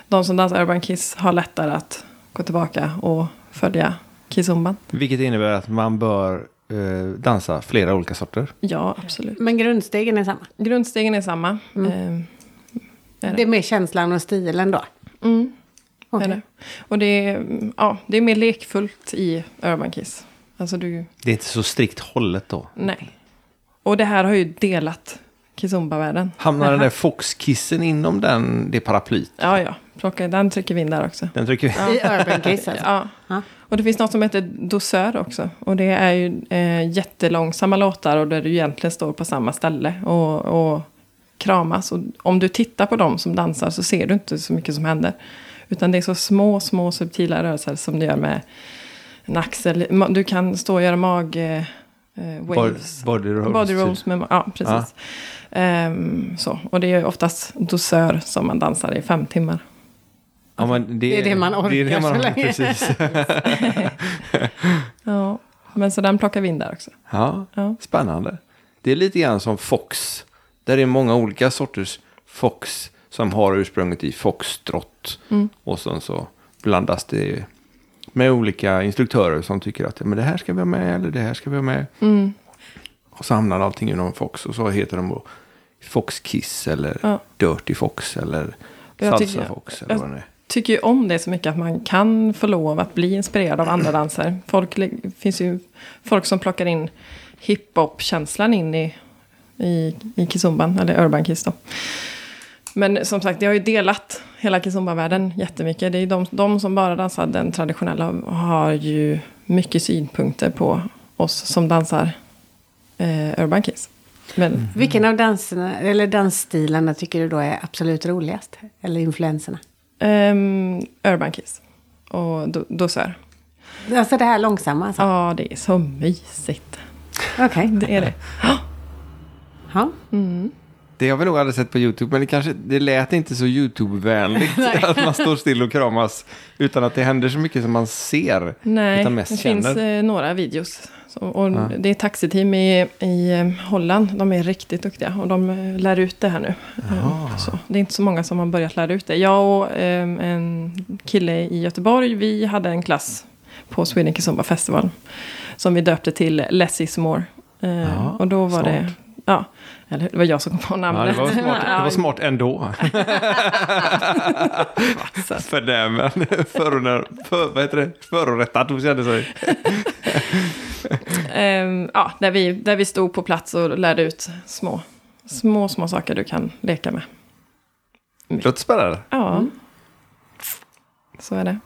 De som dansar Urban Kiss har lättare att gå tillbaka och följa kizomban.
Vilket innebär att man bör eh, dansa flera olika sorter.
Ja, absolut.
Men grundstegen är samma.
Grundstegen är samma. Ehm, Är det?
Det är mer känslan och stilen då.
Mm.
Okej.
Är det. Och det är, mm, ja, det är mer lekfullt i Urban Kiss. Alltså du,
Det är inte så strikt hållet då.
nej. Och det här har ju delat Kizomba-världen.
<laughs>
Hamnar den där foxkissen inom den, det paraplyt?
Ja, ja. Plocka, den trycker vi in där också.
Den trycker vi.
I Urban Kiss alltså.
<laughs> Ja.
Ja.
Och det finns något som heter dosör också. Och det är ju eh, jättelångsamma låtar och där du egentligen står på samma ställe och, och kramas. Och om du tittar på dem som dansar så ser du inte så mycket som händer. Utan det är så små, små subtila rörelser som du gör med en axel. Ma- Du kan stå och göra mag... Eh, eh, waves.
Body rolls.
Body
typ.
rolls med, ja precis. Ehm, så. Och det är ju oftast dosör som man dansar i fem timmar.
Ja, men
Det är det man orkar så
orkar,
länge.
Precis.
Ja. Men så den plockar vi in där också.
Ja,
Ja.
spännande. Det är lite grann som Fox. Där det är många olika sorters Fox som har ursprunget i foxtrott.
Mm.
Och sen så blandas det med olika instruktörer som tycker att men det här ska vi ha med eller det här ska vi ha med.
Mm.
Och så hamnar allting inom Fox och så heter de då Fox Kiss eller
Ja.
Dirty Fox eller
jag
Salsa
tycker-
Fox. Eller
jag-
vad det är.
tycker ju om det så mycket att man kan få lov att bli inspirerad av andra danser. Folk, det finns ju folk som plockar in hiphop-känslan in i, i, i kizomban, eller urban kiss då. Men som sagt, det har ju delat hela kizomba-världen jättemycket. Det är ju de, de som bara dansar den traditionella har ju mycket synpunkter på oss som dansar eh, urban kiss. Men,
Vilken
Mm.
av danserna, eller dansstilarna tycker du då är absolut roligast? Eller influenserna?
ehm, urban kiss och do- dosör.
Alltså det här långsamma alltså.
Ja, det är så mysigt.
<laughs>
Okej.
Det är det.
Ja.
Det har vi nog aldrig sett på YouTube, men det, kanske, det lät inte så
<laughs>
YouTube-vänligt att man står still och kramas utan att det händer så mycket som man ser.
Nej,
utan
det
mest känner.
finns eh, några videos. Så, och Det är taxiteam i, i eh, Holland. De är riktigt duktiga och de eh, lär ut det här nu. Eh, Så, det är inte så många som har börjat lära ut det. Jag och eh, en kille i Göteborg, vi hade en klass på Sweden Kizomba Festival. Som vi döpte till Less is more. Eh,
Ja,
och då var det...
smart.
Ja, eller hur? det var jag som kom på
Ja, det,
namnet.
var smart, det var
<laughs> Ja,
smart
<laughs>
ändå. Förnämen. Förorättad. För, vad heter det? Förorättad. Hon kände sig.
Ehm, ja, där, vi, där vi stod på plats och lärde ut små, små, små saker du kan leka med.
Låter spännande.
Ja, så är det.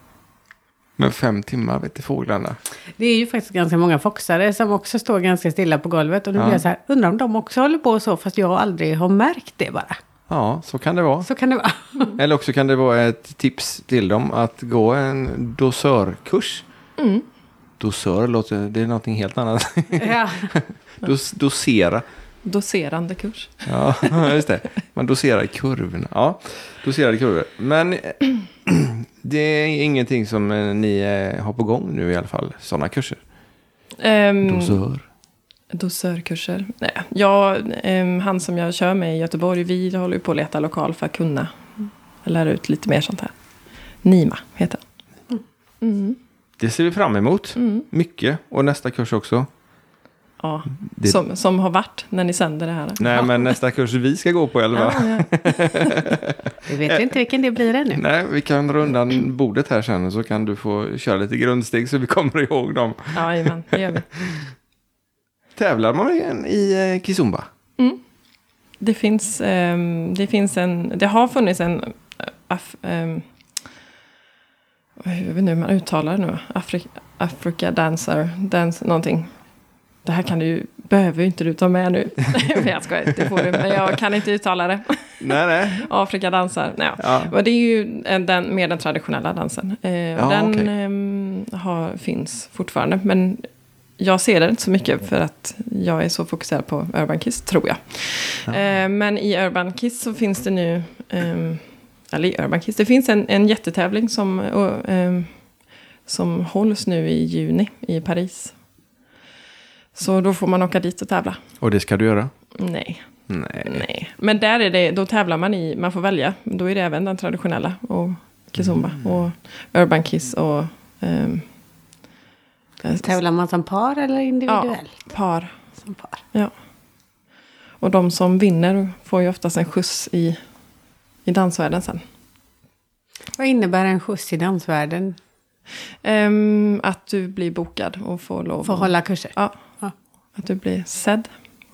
Men fem timmar vet du fåglarna.
Det är ju faktiskt ganska många foxare som också står ganska stilla på golvet. Och nu blir jag så här, undrar om de också håller på så, fast jag aldrig har märkt det bara.
Ja, så kan det vara.
Så kan
<laughs>
det vara.
Eller också kan det vara ett tips till dem att gå en dosörkurs.
Mm.
Dosör låter, det är någonting helt
<laughs>
annat.
ja.
Dos, dosera.
Doserande kurs.
Ja, <laughs> just det. Man doserar kurvorna. Ja, doserade kurvor. Men <clears throat> eh, det är ingenting som eh, ni eh, har på gång nu i alla fall, sådana kurser.
Ehm,
Mm. Dosör.
dosörkurser. Nej, jag, ehm, han som jag kör med i Göteborg, vi håller ju på att leta lokal för att kunna lära ut lite mer sånt här. Nima heter han. Mm.
Det ser vi fram emot. Mycket. Och nästa kurs också.
Ja,
Det-
som, som har varit när ni sänder det här.
Nej, men nästa kurs vi ska gå på i alla fall.
Ja, ja.
Vi vet ju inte vilken det blir ännu.
Nej, vi kan dra undan bordet här sen och så kan du få köra lite grundsteg så vi kommer ihåg dem.
Ja, jajamän, det gör vi.
Tävlar man igen i eh, Kizumba?
Det finns, ehm, det finns en, det har funnits en, eh, af, ehm, jag vet inte hur man uttalar det nu, Afrika, Africa Dancer, dance, någonting. Det här kan du ju, behöver ju inte du ta med nu. <laughs> Nej, jag skojar, det får du, men jag kan inte uttala det.
Nej, nej.
Afrika dansar, nej.
Ja.
Och det är ju en- den, mer den traditionella dansen. Eh, och den
okej.
ehm, har, finns fortfarande, men jag ser den inte så mycket för att jag är så fokuserad på Urban Kiss, tror jag. Eh, men i Urban Kiss så finns det nu, ehm, eller i Urban Kiss, det finns en, en jättetävling som, och, ehm, som hålls nu i juni i Paris. Så då får man åka dit och tävla.
Och det ska du göra?
Nej.
Nej.
Nej, men där är det, då tävlar man i, man får välja. Då är det även den traditionella och kizomba och urban kiss och ehm, eh,
Tävlar man som par eller
ja,
individuellt?
par.
Som par.
Ja. Och de som vinner får ju oftast en skjuts i, i dansvärlden sen.
Vad innebär en skjuts i dansvärlden?
Ehm, att du blir bokad och får lov.
Får hålla kurser?
Ja,
Ja.
att du blir sedd,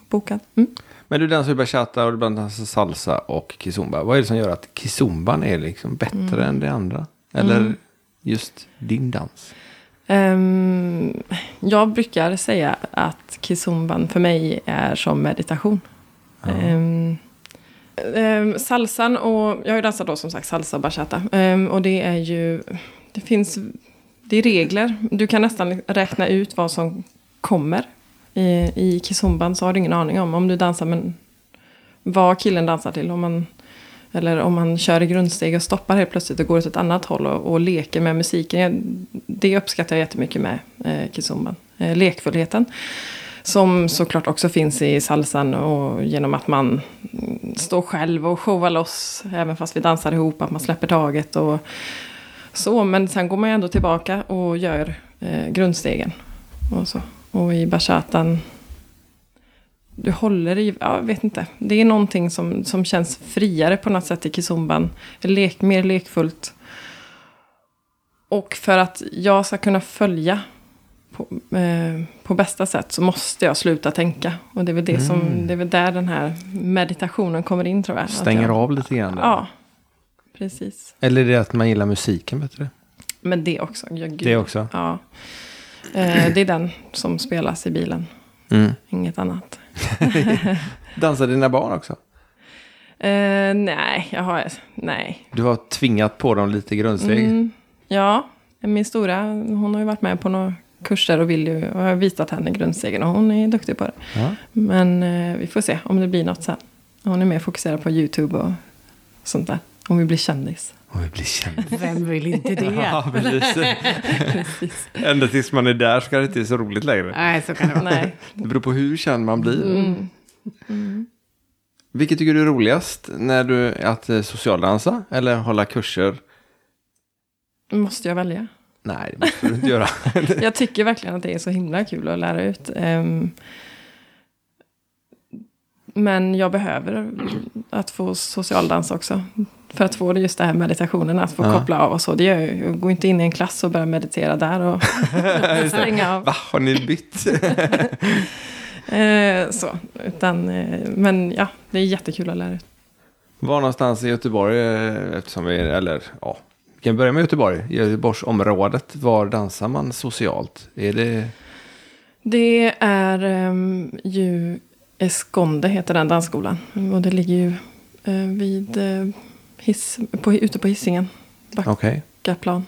bokad. Mm.
Men du dansar ju bachata och du dansar salsa och kizumba. Vad är det som gör att kizumban är liksom
Mm.
bättre än det andra? Eller just din dans?
Ehm, jag brukar säga att kizumban för mig är som meditation. Ehm, ehm, salsan och, jag har ju dansat då som sagt salsa och bachata. Ehm, och det är ju, det finns, det är regler. Du kan nästan räkna ut vad som kommer. I, i kizumban så har du ingen aning om, om du dansar men vad killen dansar till. Om man, eller om man kör i grundsteg och stoppar helt plötsligt och går åt ett annat håll och, och leker med musiken. Jag, det uppskattar jag jättemycket med eh, kizumban. Eh, lekfullheten. Som såklart också finns i salsan och genom att man mm, står själv och showar loss. Även fast vi dansar ihop, att man släpper taget och så. Men sen går man ju ändå tillbaka och gör eh, grundstegen. Och, så. och i bachatan du håller i, ja, jag vet inte. Det är någonting som, som känns friare på något sätt i kizumban. Lek, mer lekfullt. Och för att jag ska kunna följa på, eh, på bästa sätt så måste jag sluta tänka. Och det är väl, det som, det är väl där den här meditationen kommer in tror jag. Att
Mm. Stänger
jag,
av lite grann? där.
Ja, precis.
Eller är det att man gillar musiken bättre?
Men det också. Ja, gud.
Det också?
Ja. Eh, det är den som spelas i bilen,
Mm.
inget annat.
Dansar dina barn också?
Eh, nej, jag har... Nej.
Du har tvingat på dem lite grundsteg?
Mm, ja, min stora, hon har ju varit med på några kurser och vill ju... Och jag har visat henne grundstegen och hon är duktig på det.
Ja.
Men eh, vi får se om det blir något sen. Hon är mer fokuserad på YouTube och sånt där. Hon vill bli kändis.
Och vi blir kända.
Vem vill inte det?
<laughs> Ja,
<laughs>
precis.
Precis.
Ända tills man är där ska det inte vara så roligt längre.
Nej, så kan det vara.
Nej.
Det beror på hur känd man blir.
Mm.
Vilket tycker du är roligast? När du, att eh, socialdansa eller hålla kurser?
Måste jag välja?
Nej, det måste du inte
<laughs>
göra.
Jag tycker verkligen att det är så himla kul att lära ut. Ehm, Men jag behöver att få socialdans också. För att få det just det här meditationen, att få
Ja.
koppla av och så. Det gör jag ju. Jag går inte in i en klass och börjar meditera där och <laughs> stänga av.
Va, har ni bytt?
Ehm, Så, utan, eh, men ja, det är jättekul att lära ut.
Var någonstans i Göteborg, eh, eftersom vi, eller ja, vi kan börja med Göteborg. Göteborgsområdet, var dansar man socialt? Är det,
Det är ehm, ju Esconde heter den dansskolan. Och det ligger ju eh, vid, eh, hiss, på, ute på Hisingen.
okej.
Gaplan.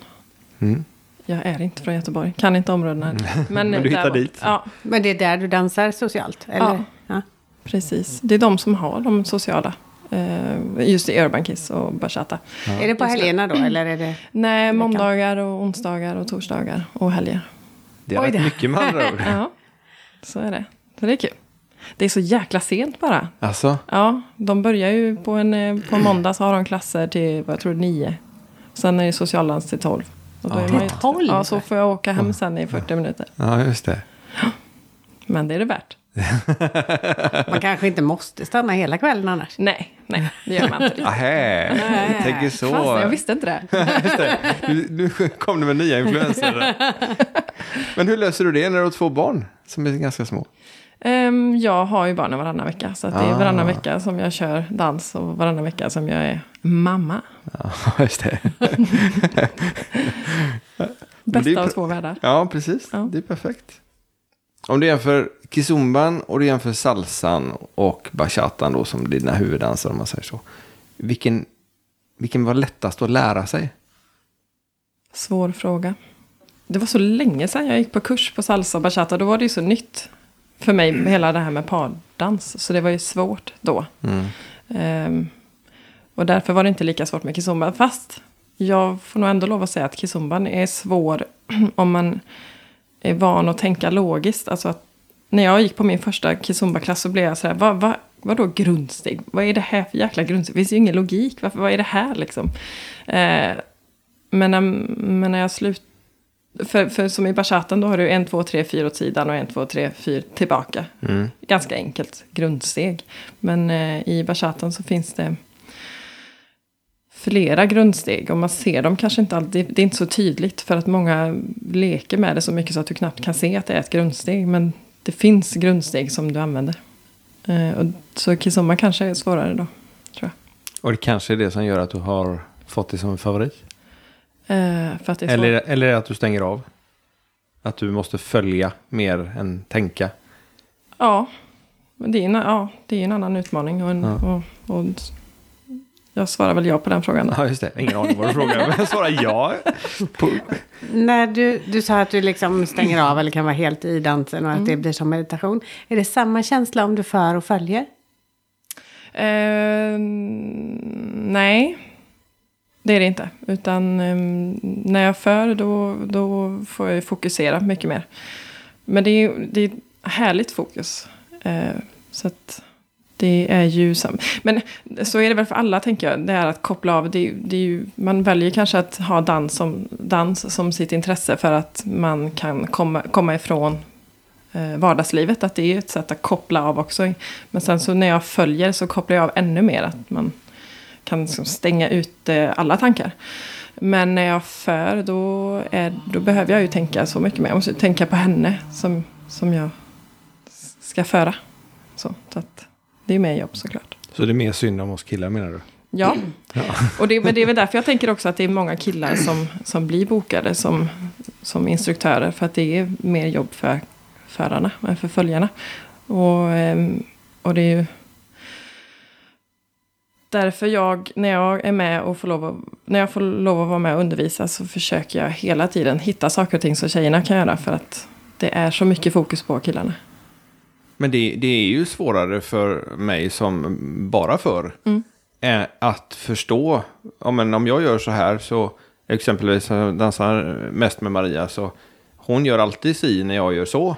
Mm.
Jag är inte från Göteborg, kan inte områdena. Men,
Men du
där
hittar
var-
dit.
Ja,
Men det är där du dansar socialt? Eller? Ja.
precis. Det är de som har de sociala. eh, Just i Urban Kiss och Bachata.
Är det på
Just det.
helgerna då? Eller är det...
Nej, måndagar och onsdagar och torsdagar och helger.
Det är
Oj,
rätt
det-
mycket med andra ord.
Ja, så är det. Så det är kul. Det är så jäkla sent bara.
<laughs> Alltså,
Ja, de börjar ju på en eh, på en måndag så har de klasser till, vad jag tror, nio. Sen är det socialdans till tolv. Och då är
Till
man ju-
tolv?
Ja, så får jag åka hem sen i 40 minuter.
ja just det.
Men det är det värt.
Man kanske inte måste stanna hela kvällen annars.
Nej, nej, det gör
<laughs>
man inte.
Ahä,
Nej.
tänker så.
Fast jag visste
<laughs>
inte det.
Just det. Nu, nu kom det med nya
<laughs>
influenser. Men hur löser du det när du har två barn som är ganska små?
Ehm, jag har ju barnen varannan vecka. Så att det är
Ah.
varannan vecka som jag kör dans och varannan vecka som jag är mamma.
Ja, <laughs> just det. Men det är ju
Bästa av
pr-
två världar.
Ja, precis.
Ja.
Det är perfekt. Om du jämför kizumban och du jämför salsan och bachatan då som dina huvuddanser om man säger så. Vilken, vilken var lättast att lära sig?
Svår fråga. Det var så länge sedan jag gick på kurs på salsa och bachata. Då var det ju så nytt för mig, med hela det här med pardans. Så det var ju svårt då. Ehm, och därför var det inte lika svårt med kizomba. Fast jag får nog ändå lov att säga att kizomban är svår <clears throat> om man är van att tänka logiskt. Alltså att när jag gick på min första kizomba-klass så blev jag sådär, vad, vad, vadå grundsteg? Vad är det här för jäkla grundsteg? Det finns ju ingen logik, Varför, vad är det här liksom? Eh, men när, men när jag slut... För, för som i bachatan då har du en, två, tre, fyra åt sidan och en, två, tre, fyra tillbaka. Ganska enkelt grundsteg. Men eh, i bachatan så finns det flera grundsteg och man ser dem kanske inte alltid. Det är inte så tydligt för att många leker med det så mycket så att du knappt kan se att det är ett grundsteg. Men det finns grundsteg som du använder. Eh, och, så kizomba kanske är svårare då, tror jag.
Och det kanske är det som gör att du har fått det som en favorit?
Eh, för att det är svårare.
Eller, eller är det att du stänger av? Att du måste följa mer än tänka?
Ja, men det är en, ja, det är en annan utmaning. Och en,
Ja.
och, och jag svarar väl ja på den frågan. Då.
Ja, just det. Ingen aning vad du frågar, men <laughs> jag svarar ja. På-
När du, du sa att du liksom stänger av eller kan vara helt i dansen och att det blir som meditation. Är det samma känsla om du för och följer?
Eh, nej, det är det inte. Utan eh, när jag för då, då får jag ju fokusera mycket mer. Men det är, det är ett härligt fokus. Eh, så att det är ju... sam- Men så är det väl för alla, tänker jag. Det är att koppla av. Det, är- det är ju, man väljer kanske att ha dans som, dans som sitt intresse för att man kan komma, komma ifrån eh, vardagslivet. Att det är ju ett sätt att koppla av också. Men sen så när jag följer så kopplar jag av ännu mer. Att man kan liksom stänga ut eh, alla tankar. Men när jag för då, är, då behöver jag ju tänka så mycket mer. Jag måste ju tänka på henne som, som jag s- ska föra. Så, så att det är mer jobb såklart.
Så det är mer synd om oss killar menar du?
Ja, och det, men det är väl därför jag tänker också att det är många killar som, som blir bokade som, som instruktörer. För att det är mer jobb för förarna än för följarna. Och, ehm, och det är ju därför jag, när jag är med och får lov att, när jag får lov att vara med och undervisa så försöker jag hela tiden hitta saker och ting som tjejerna kan göra. För att det är så mycket fokus på killarna.
Men det, det är ju svårare för mig som bara för
Mm.
eh, att förstå. Ja, men om jag gör så här så, exempelvis jag dansar mest med Maria så, hon gör alltid si när jag gör så.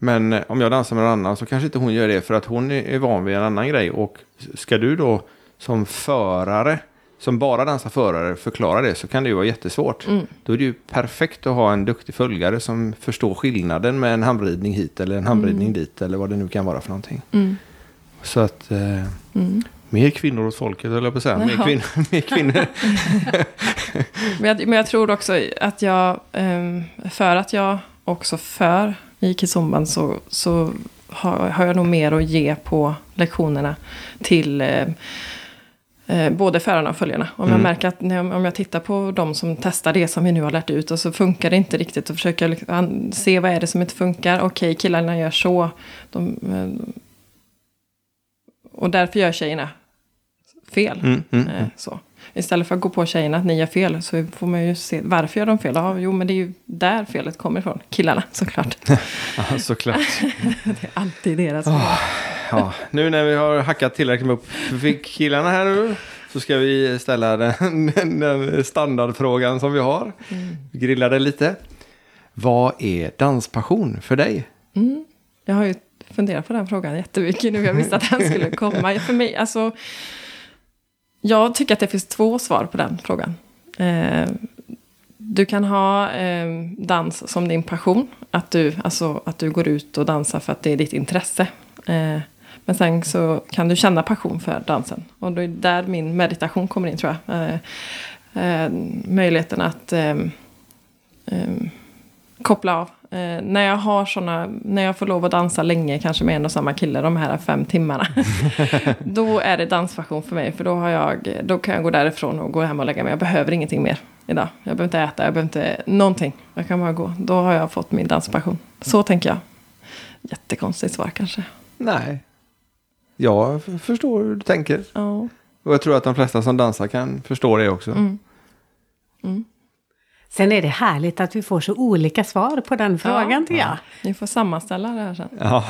Men eh, om jag dansar med någon annan så kanske inte hon gör det för att hon är är van vid en annan grej. Och ska du då som förare, som bara dansar förare, förklara det så kan det ju vara jättesvårt. Då är det ju perfekt att ha en duktig följare som förstår skillnaden med en handvridning hit eller en handvridning dit eller vad det nu kan vara för någonting. Så att... Eh, Mer kvinnor åt folket, höll jag på att säga. Mer
Jaha.
kvinnor. <laughs> Mer kvinnor.
Men jag, men jag tror också att jag, ehm, för att jag också för i kizomban så, så har, har jag nog mer att ge på lektionerna till ehm, eh, både förarna och följarna. Om jag märker att när, jag- om jag tittar på de som testar det som vi nu har lärt ut och så funkar det inte riktigt. Då försöker jag liksom an- se vad är det som inte funkar. Okej, killarna gör så. De, eh, och därför gör tjejerna fel.
Mm,
Eh, Så. Istället för att gå på tjejerna att ni gör fel så får man ju se varför gör de fel. Ja, jo, men det är ju där felet kommer ifrån. Killarna såklart.
Ja, såklart.
Det är alltid deras fel.
Ja, nu när vi har hackat tillräckligt med upp killarna här nu så ska vi ställa den, den, den standardfrågan som vi har. Grilla det lite. Vad är danspassion för dig?
Jag har ju funderat på den frågan jättemycket nu. Jag visste att den skulle komma. För mig, alltså, jag tycker att det finns två svar på den frågan. Eh, du kan ha eh, dans som din passion. Att du, alltså, att du går ut och dansar för att det är ditt intresse. Eh, men sen så kan du känna passion för dansen. Och det är där min meditation kommer in tror jag. Eh, eh, möjligheten att ehm, ehm, koppla av. Eh, när jag har såna, när jag får lov att dansa länge, kanske med en och samma kille, de här
<laughs>
fem timmarna. då är det danspassion för mig, för då, har jag, då kan jag gå därifrån och gå hem och lägga mig. Jag behöver ingenting mer idag. Jag behöver inte äta, jag behöver inte någonting. Jag kan bara gå. Då har jag fått min danspassion.
Mm.
Så tänker jag. Jättekonstigt svar kanske.
Nej, jag f- förstår hur du tänker.
Ja.
Och jag tror att de flesta som dansar kan förstå det också.
Sen är det härligt att vi får så olika svar på den frågan, tycker jag.
Ni får sammanställa det här sen.
Ja.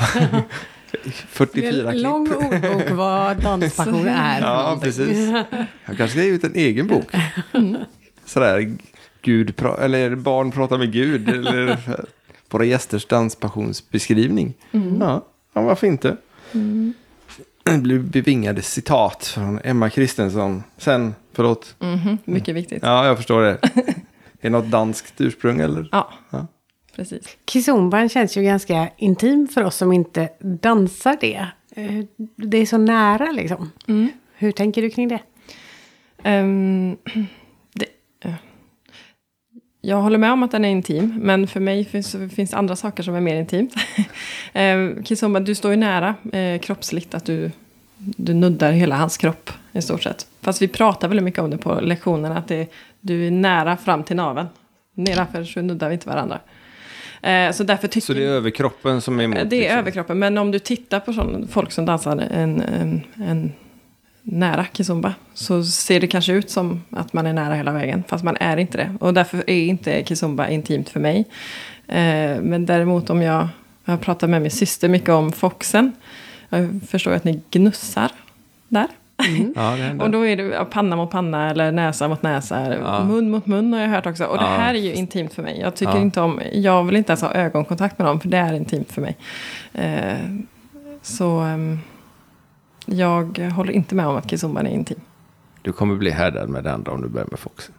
Det
44
är
klipp.
en lång ordbok <laughs> vad danspassion är.
Ja, precis.
<laughs>
Jag kanske ska ge ut en egen bok. Sådär, Gud pra- eller barn pratar med Gud.
<laughs>
Eller våra gästers danspassionsbeskrivning.
Mm.
Ja, ja, varför inte? Det blir bevingade citat från Emma Kristensson. Sen, förlåt.
Mhm, Mycket viktigt.
Mm. Ja, jag förstår det. Är det något danskt ursprung eller?
Ja,
Ja.
precis.
Kizomban känns ju ganska intim för oss som inte dansar det. Eh, Det är så nära liksom. Hur tänker du kring det?
Ehm, det, eh. jag håller med om att den är intim, men för mig finns det finns andra saker som är mer intimt. <laughs> um, Kizomba, du står ju nära eh, kroppsligt, att du, du nuddar hela hans kropp i stort sett. Fast vi pratar väldigt mycket om det på lektionerna, att det, du är nära fram till naveln. Nedanför så nuddar vi inte varandra. Eh, så därför tycker
Så det är överkroppen som är emot?
Eh, Det är
liksom.
överkroppen, men om du tittar på sån, folk som dansar en, en, en nära kizomba så ser det kanske ut som att man är nära hela vägen, fast man är inte det. Och därför är inte kizomba intimt för mig. Eh, Men däremot om jag, jag pratar med min syster mycket om foxen, jag förstår att ni gnussar där.
Ja, det händer.
Och då är det ja, panna mot panna eller näsa mot näsa. Mun mot mun har jag hört också. Och det
Ja.
här är ju intimt för mig. Jag, tycker
Ja.
inte om, jag vill inte ens ha ögonkontakt med dem för det är intimt för mig. Eh, så ehm, jag håller inte med om att kizomban är intim.
Du kommer bli härdad med det andra om du börjar med Foxen.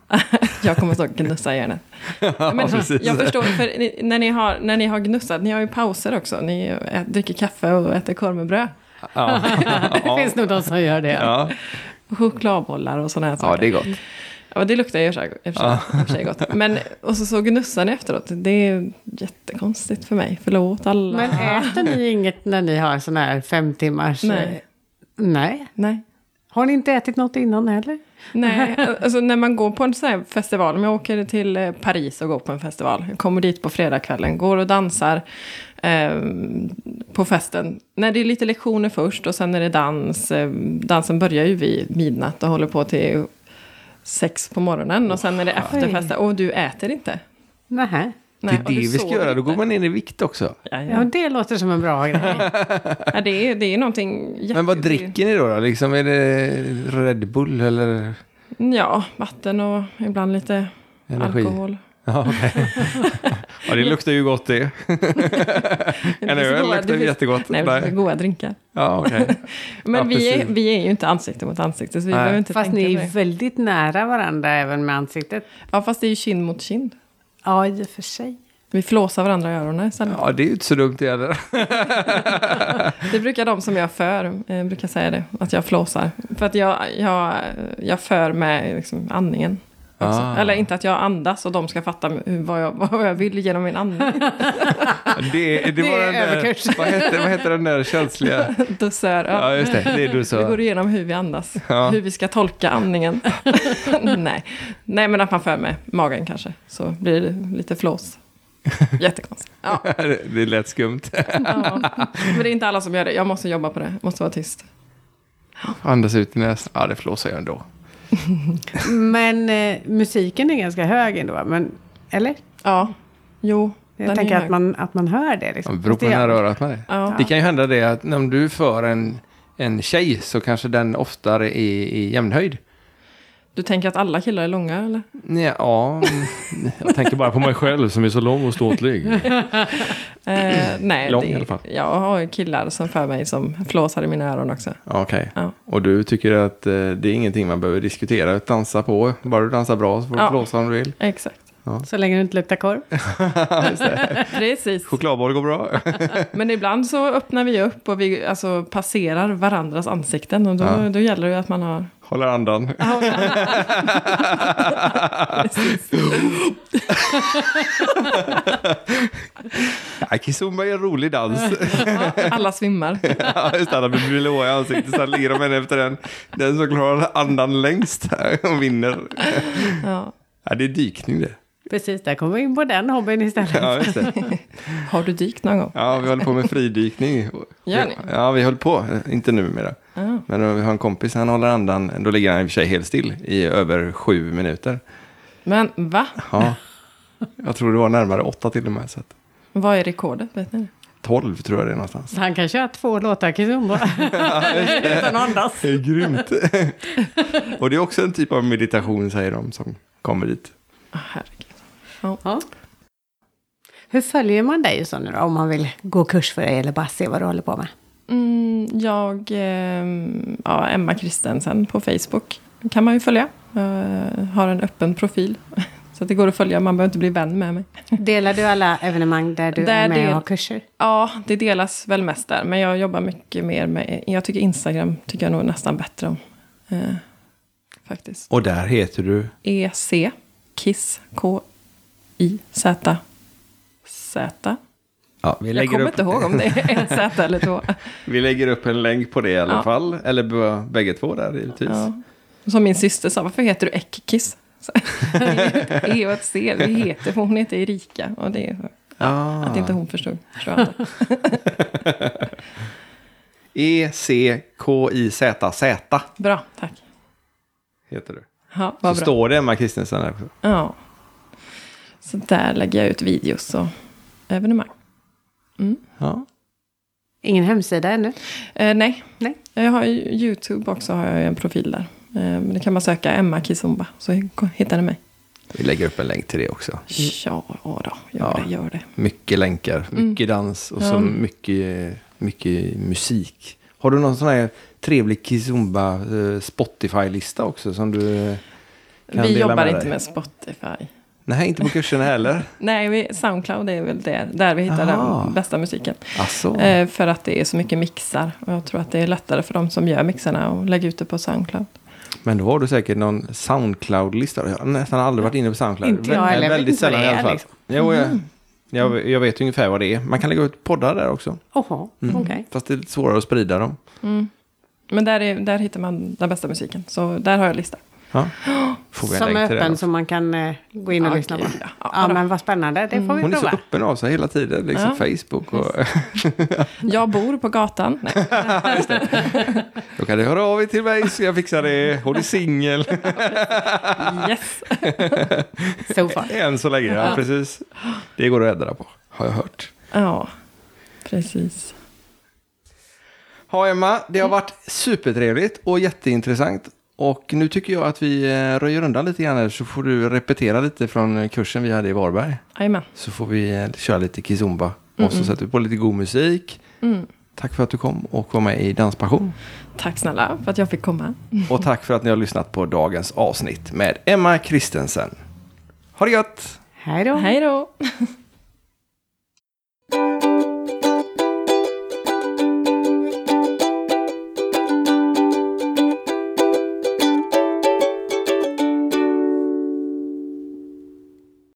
Jag kommer stå och gnussa i
<laughs>
hjärnan. Ja, men
precis.
jag förstår, för ni, när, ni har, när ni har gnussat, ni har ju pauser också. Ni ä, dricker kaffe och äter korv med bröd. <laughs>
Ja,
<laughs> Det finns nog de som gör det.
ja.
Och chokladbollar och sådana här saker.
ja det är gott.
Ja, det luktar ju i och för sig- i och för sig- i och för sig gott. Men, och så, så gnussar ni efteråt. Det är jättekonstigt för mig. Förlåt alla.
Men äter ni inget när ni har sån här fem timmars... eh,
Nej.
Nej.
Nej.
Har ni inte ätit något innan heller?
Nej, alltså när man går på en sån här festival, om jag åker till eh, Paris och går på en festival, jag kommer dit på fredagskvällen, går och dansar eh, på festen. När det är lite lektioner först och sen är det dans, eh, dansen börjar ju vid midnatt och håller på till sex på morgonen och sen är det efterfest och du äter inte.
Nej.
Det är
och
det
du
vi ska
sover
göra, då går
inte.
man ner i vikt också.
Ja,
Ja, ja.
det låter som en bra
<laughs>
grej.
Ja, det, är, det är någonting jätte...
Men vad dricker ni då? då? Liksom, är det Red Bull eller?
Ja, vatten och ibland lite
Energi.
alkohol.
Ja, okej.
<laughs>
ja, det luktar ju gott det. En
finns
öl
goda-
luktar
finns-
jättegott.
Nej, det
Nej.
finns goda drinkar.
Ja, okej.
Men
Ja,
vi, är,
precis.
vi är ju inte ansikte mot ansikte, så vi
Nej.
behöver inte
Fast
tänka
ni
på
är
det.
väldigt nära varandra även med ansiktet.
Ja, fast det är ju kind mot kind.
Ja, i och för sig.
Vi flåsar varandra i öronen istället.
<laughs> ja, det är ju inte så dumt det heller.
Det brukar de som jag för eh, brukar säga det, att jag flåsar. För att jag, jag, jag för med liksom, andningen. Också.
Ah.
Eller inte att jag andas och de ska fatta hur- vad jag, vad jag vill genom min andning.
<laughs> Det, det, var
är
den där,
överkurs.
vad, hette, vad hette den där känsliga?
Dusör,
Ja,
<laughs> ja.
just det. Det är du
Vi
så.
går igenom hur vi andas,
Ja.
hur vi ska
<laughs>
tolka andningen. Nej. Nej, men att man för med magen kanske, så blir det lite flås.
<laughs>
Jättekonstigt. Ja.
Det lät skumt.
Ja. Men det är inte alla som gör det. Jag måste jobba på det. Jag måste vara tyst.
Andas ut i näsan. Ja, det flåsar jag ändå.
Men eh, musiken är ganska hög ändå, va? men, eller?
Ja. Jo.
Jag
den är
tänker
hög.
att man, att man hör det.
Ja,
Liksom.
Det beror på
Fast det-
när örat med det.
Ja.
Det kan ju hända det att om du för en, en tjej så kanske den oftare är i jämnhöjd.
Du tänker att alla killar är långa, eller?
Nja, Ja,
<laughs> Jag tänker bara på mig själv som är så lång och ståtlig.
<clears throat>
Eh, nej,
Lång
det,
i alla fall.
Jag har ju killar som för mig som flåsar i mina öron också.
<laughs> ja, okej.
Ja.
Och du tycker att eh, det är ingenting man behöver diskutera. Dansa på. Bara du dansar bra så får du
Ja.
flåsa om du vill.
Exakt.
Så länge det inte luktar
<laughs>
korv.
Precis.
Chokladboll
<laughs>
går bra.
Men ibland så öppnar vi upp och vi alltså, passerar varandras ansikten. Och då,
Ja.
då gäller det ju att
<laughs>
man har...
Håller andan.
<laughs>
Ja, Kizomba är en rolig dans.
Alla svimmar.
<laughs> Ja, just det, alla blir blåa i ansiktet. Sen ligger de en efter en. Den som klarar andan längst och vinner.
Ja.
Ja, det är dykning det.
Precis, där kommer vi in på den hobbyn istället.
Ja, just det.
Har du dykt någon gång?
Ja, vi håller på med fridykning.
Gör ni?
Ja, vi höll på. Inte numera.
Ah.
Men eh, vi har en kompis, han håller andan. Då ligger han i och för sig helt still i över sju minuter.
Men va?
Ja. Jag tror det var närmare åtta till och med. Så att
Vad är rekordet? Vet ni?
tolv tror jag det är någonstans.
Han kan köra två låtar
<laughs>
Kizomba. Utan att andas.
Det är grymt. <laughs> och det är också en typ av meditation, säger de som kommer dit.
Ah, herregud.
Ja. Hur följer man dig så nu då, om man vill gå kurs för dig eller bara se vad du håller på med?
Mm, jag, eh, ja, Emma Kristensen på Facebook kan man ju följa. Eh, har en öppen profil. <laughs> Så att det går att följa, man behöver inte bli vän med mig.
Delar du alla evenemang där du
Där
är med
del-
och har kurser?
Ja, det delas väl mest där. Men jag jobbar mycket mer med, jag tycker Instagram tycker jag nog nästan bättre om. Eh, faktiskt.
Och där heter du?
EC, Kiss, K-I-Z, Z.
Ja, vi
Jag kommer
upp,
inte ihåg om det är ett Z eller två.
Vi lägger upp en länk på det i alla
Ja.
fall. Eller b- bägge två där givetvis.
Ja. Som min syster sa, varför heter du Ekkiss?
<laughs>
Så- E och ett C, vi heter, för hon heter Erika. Och det är
Ah.
att inte hon förstod, tror jag inte.
E E-C-K-I-Z-Z
Bra, tack.
heter du.
Ja,
Så
vad bra.
står det Emma Kristensen där. också.
Ja. Så där lägger jag ut videos och evenemang.
Ja.
Ingen hemsida ännu?
Eh, nej.
Nej.
jag har ju YouTube också, har jag ju en profil där. Eh, men det kan man söka Emma Kizomba, så hittar ni mig.
Vi lägger upp en länk till det också.
Ja, då,
Mm.
gör
Ja.
det, gör det.
Mycket länkar,
Mm.
mycket dans och så mycket, mycket musik. Har du någon sån här trevlig Kizumba eh, Spotify-lista också som du eh, kan
Vi
dela
jobbar
med
inte
dig?
med Spotify.
Nej, inte på kurserna
<laughs>
heller.
Nej, vi, Soundcloud är väl där, där vi hittar
Aha.
den bästa musiken.
Asså.
Eh, för att det är så mycket mixar. Och jag tror att det är lättare för de som gör mixarna att lägga ut det på Soundcloud.
Men då har du säkert någon Soundcloud-lista. Jag har nästan aldrig varit inne på Soundcloud.
Inte jag
Vä-
heller. Jag vet
Väldigt
inte vad det
sällan i
är,
alla fall.
liksom.
Jo, jag, jag, jag vet ungefär vad det är. Man kan lägga ut poddar där också.
Jaha,
Mm.
okej.
Fast det är lite svårare att sprida dem.
Men där, är, där hittar man den bästa musiken. Så där har jag lista.
Ja. Får vi en
Som
länk
är
till det
öppen
då?
så man kan eh, gå in och
Ja,
lyssna på.
okej, Mm.
Ja,
ja. Ja, då.
men vad spännande. Det får vi
Hon är så
prova.
öppen av sig hela tiden, liksom Facebook. Och,
Jag bor på gatan.
<laughs>
Nej,
då kan du höra av er till mig så jag fixar det. Hon är
<laughs>
singel
yes.
So far.
än så länge. Ja, precis. Det går att ändra på, har jag hört.
Ja, precis.
Ja, Emma, det har varit supertrevligt och jätteintressant. Och nu tycker jag att vi eh, röjer undan lite grann här, så får du repetera lite från kursen vi hade i Varberg.
Jajamän.
Så får vi eh, köra lite kizomba och så sätter vi på lite god musik. Tack för att du kom och var med i Danspassion.
Tack snälla för att jag fick komma.
Och tack för att ni har lyssnat på dagens avsnitt med Emma Kristensen. Ha det gött!
Hej då.
Hej då.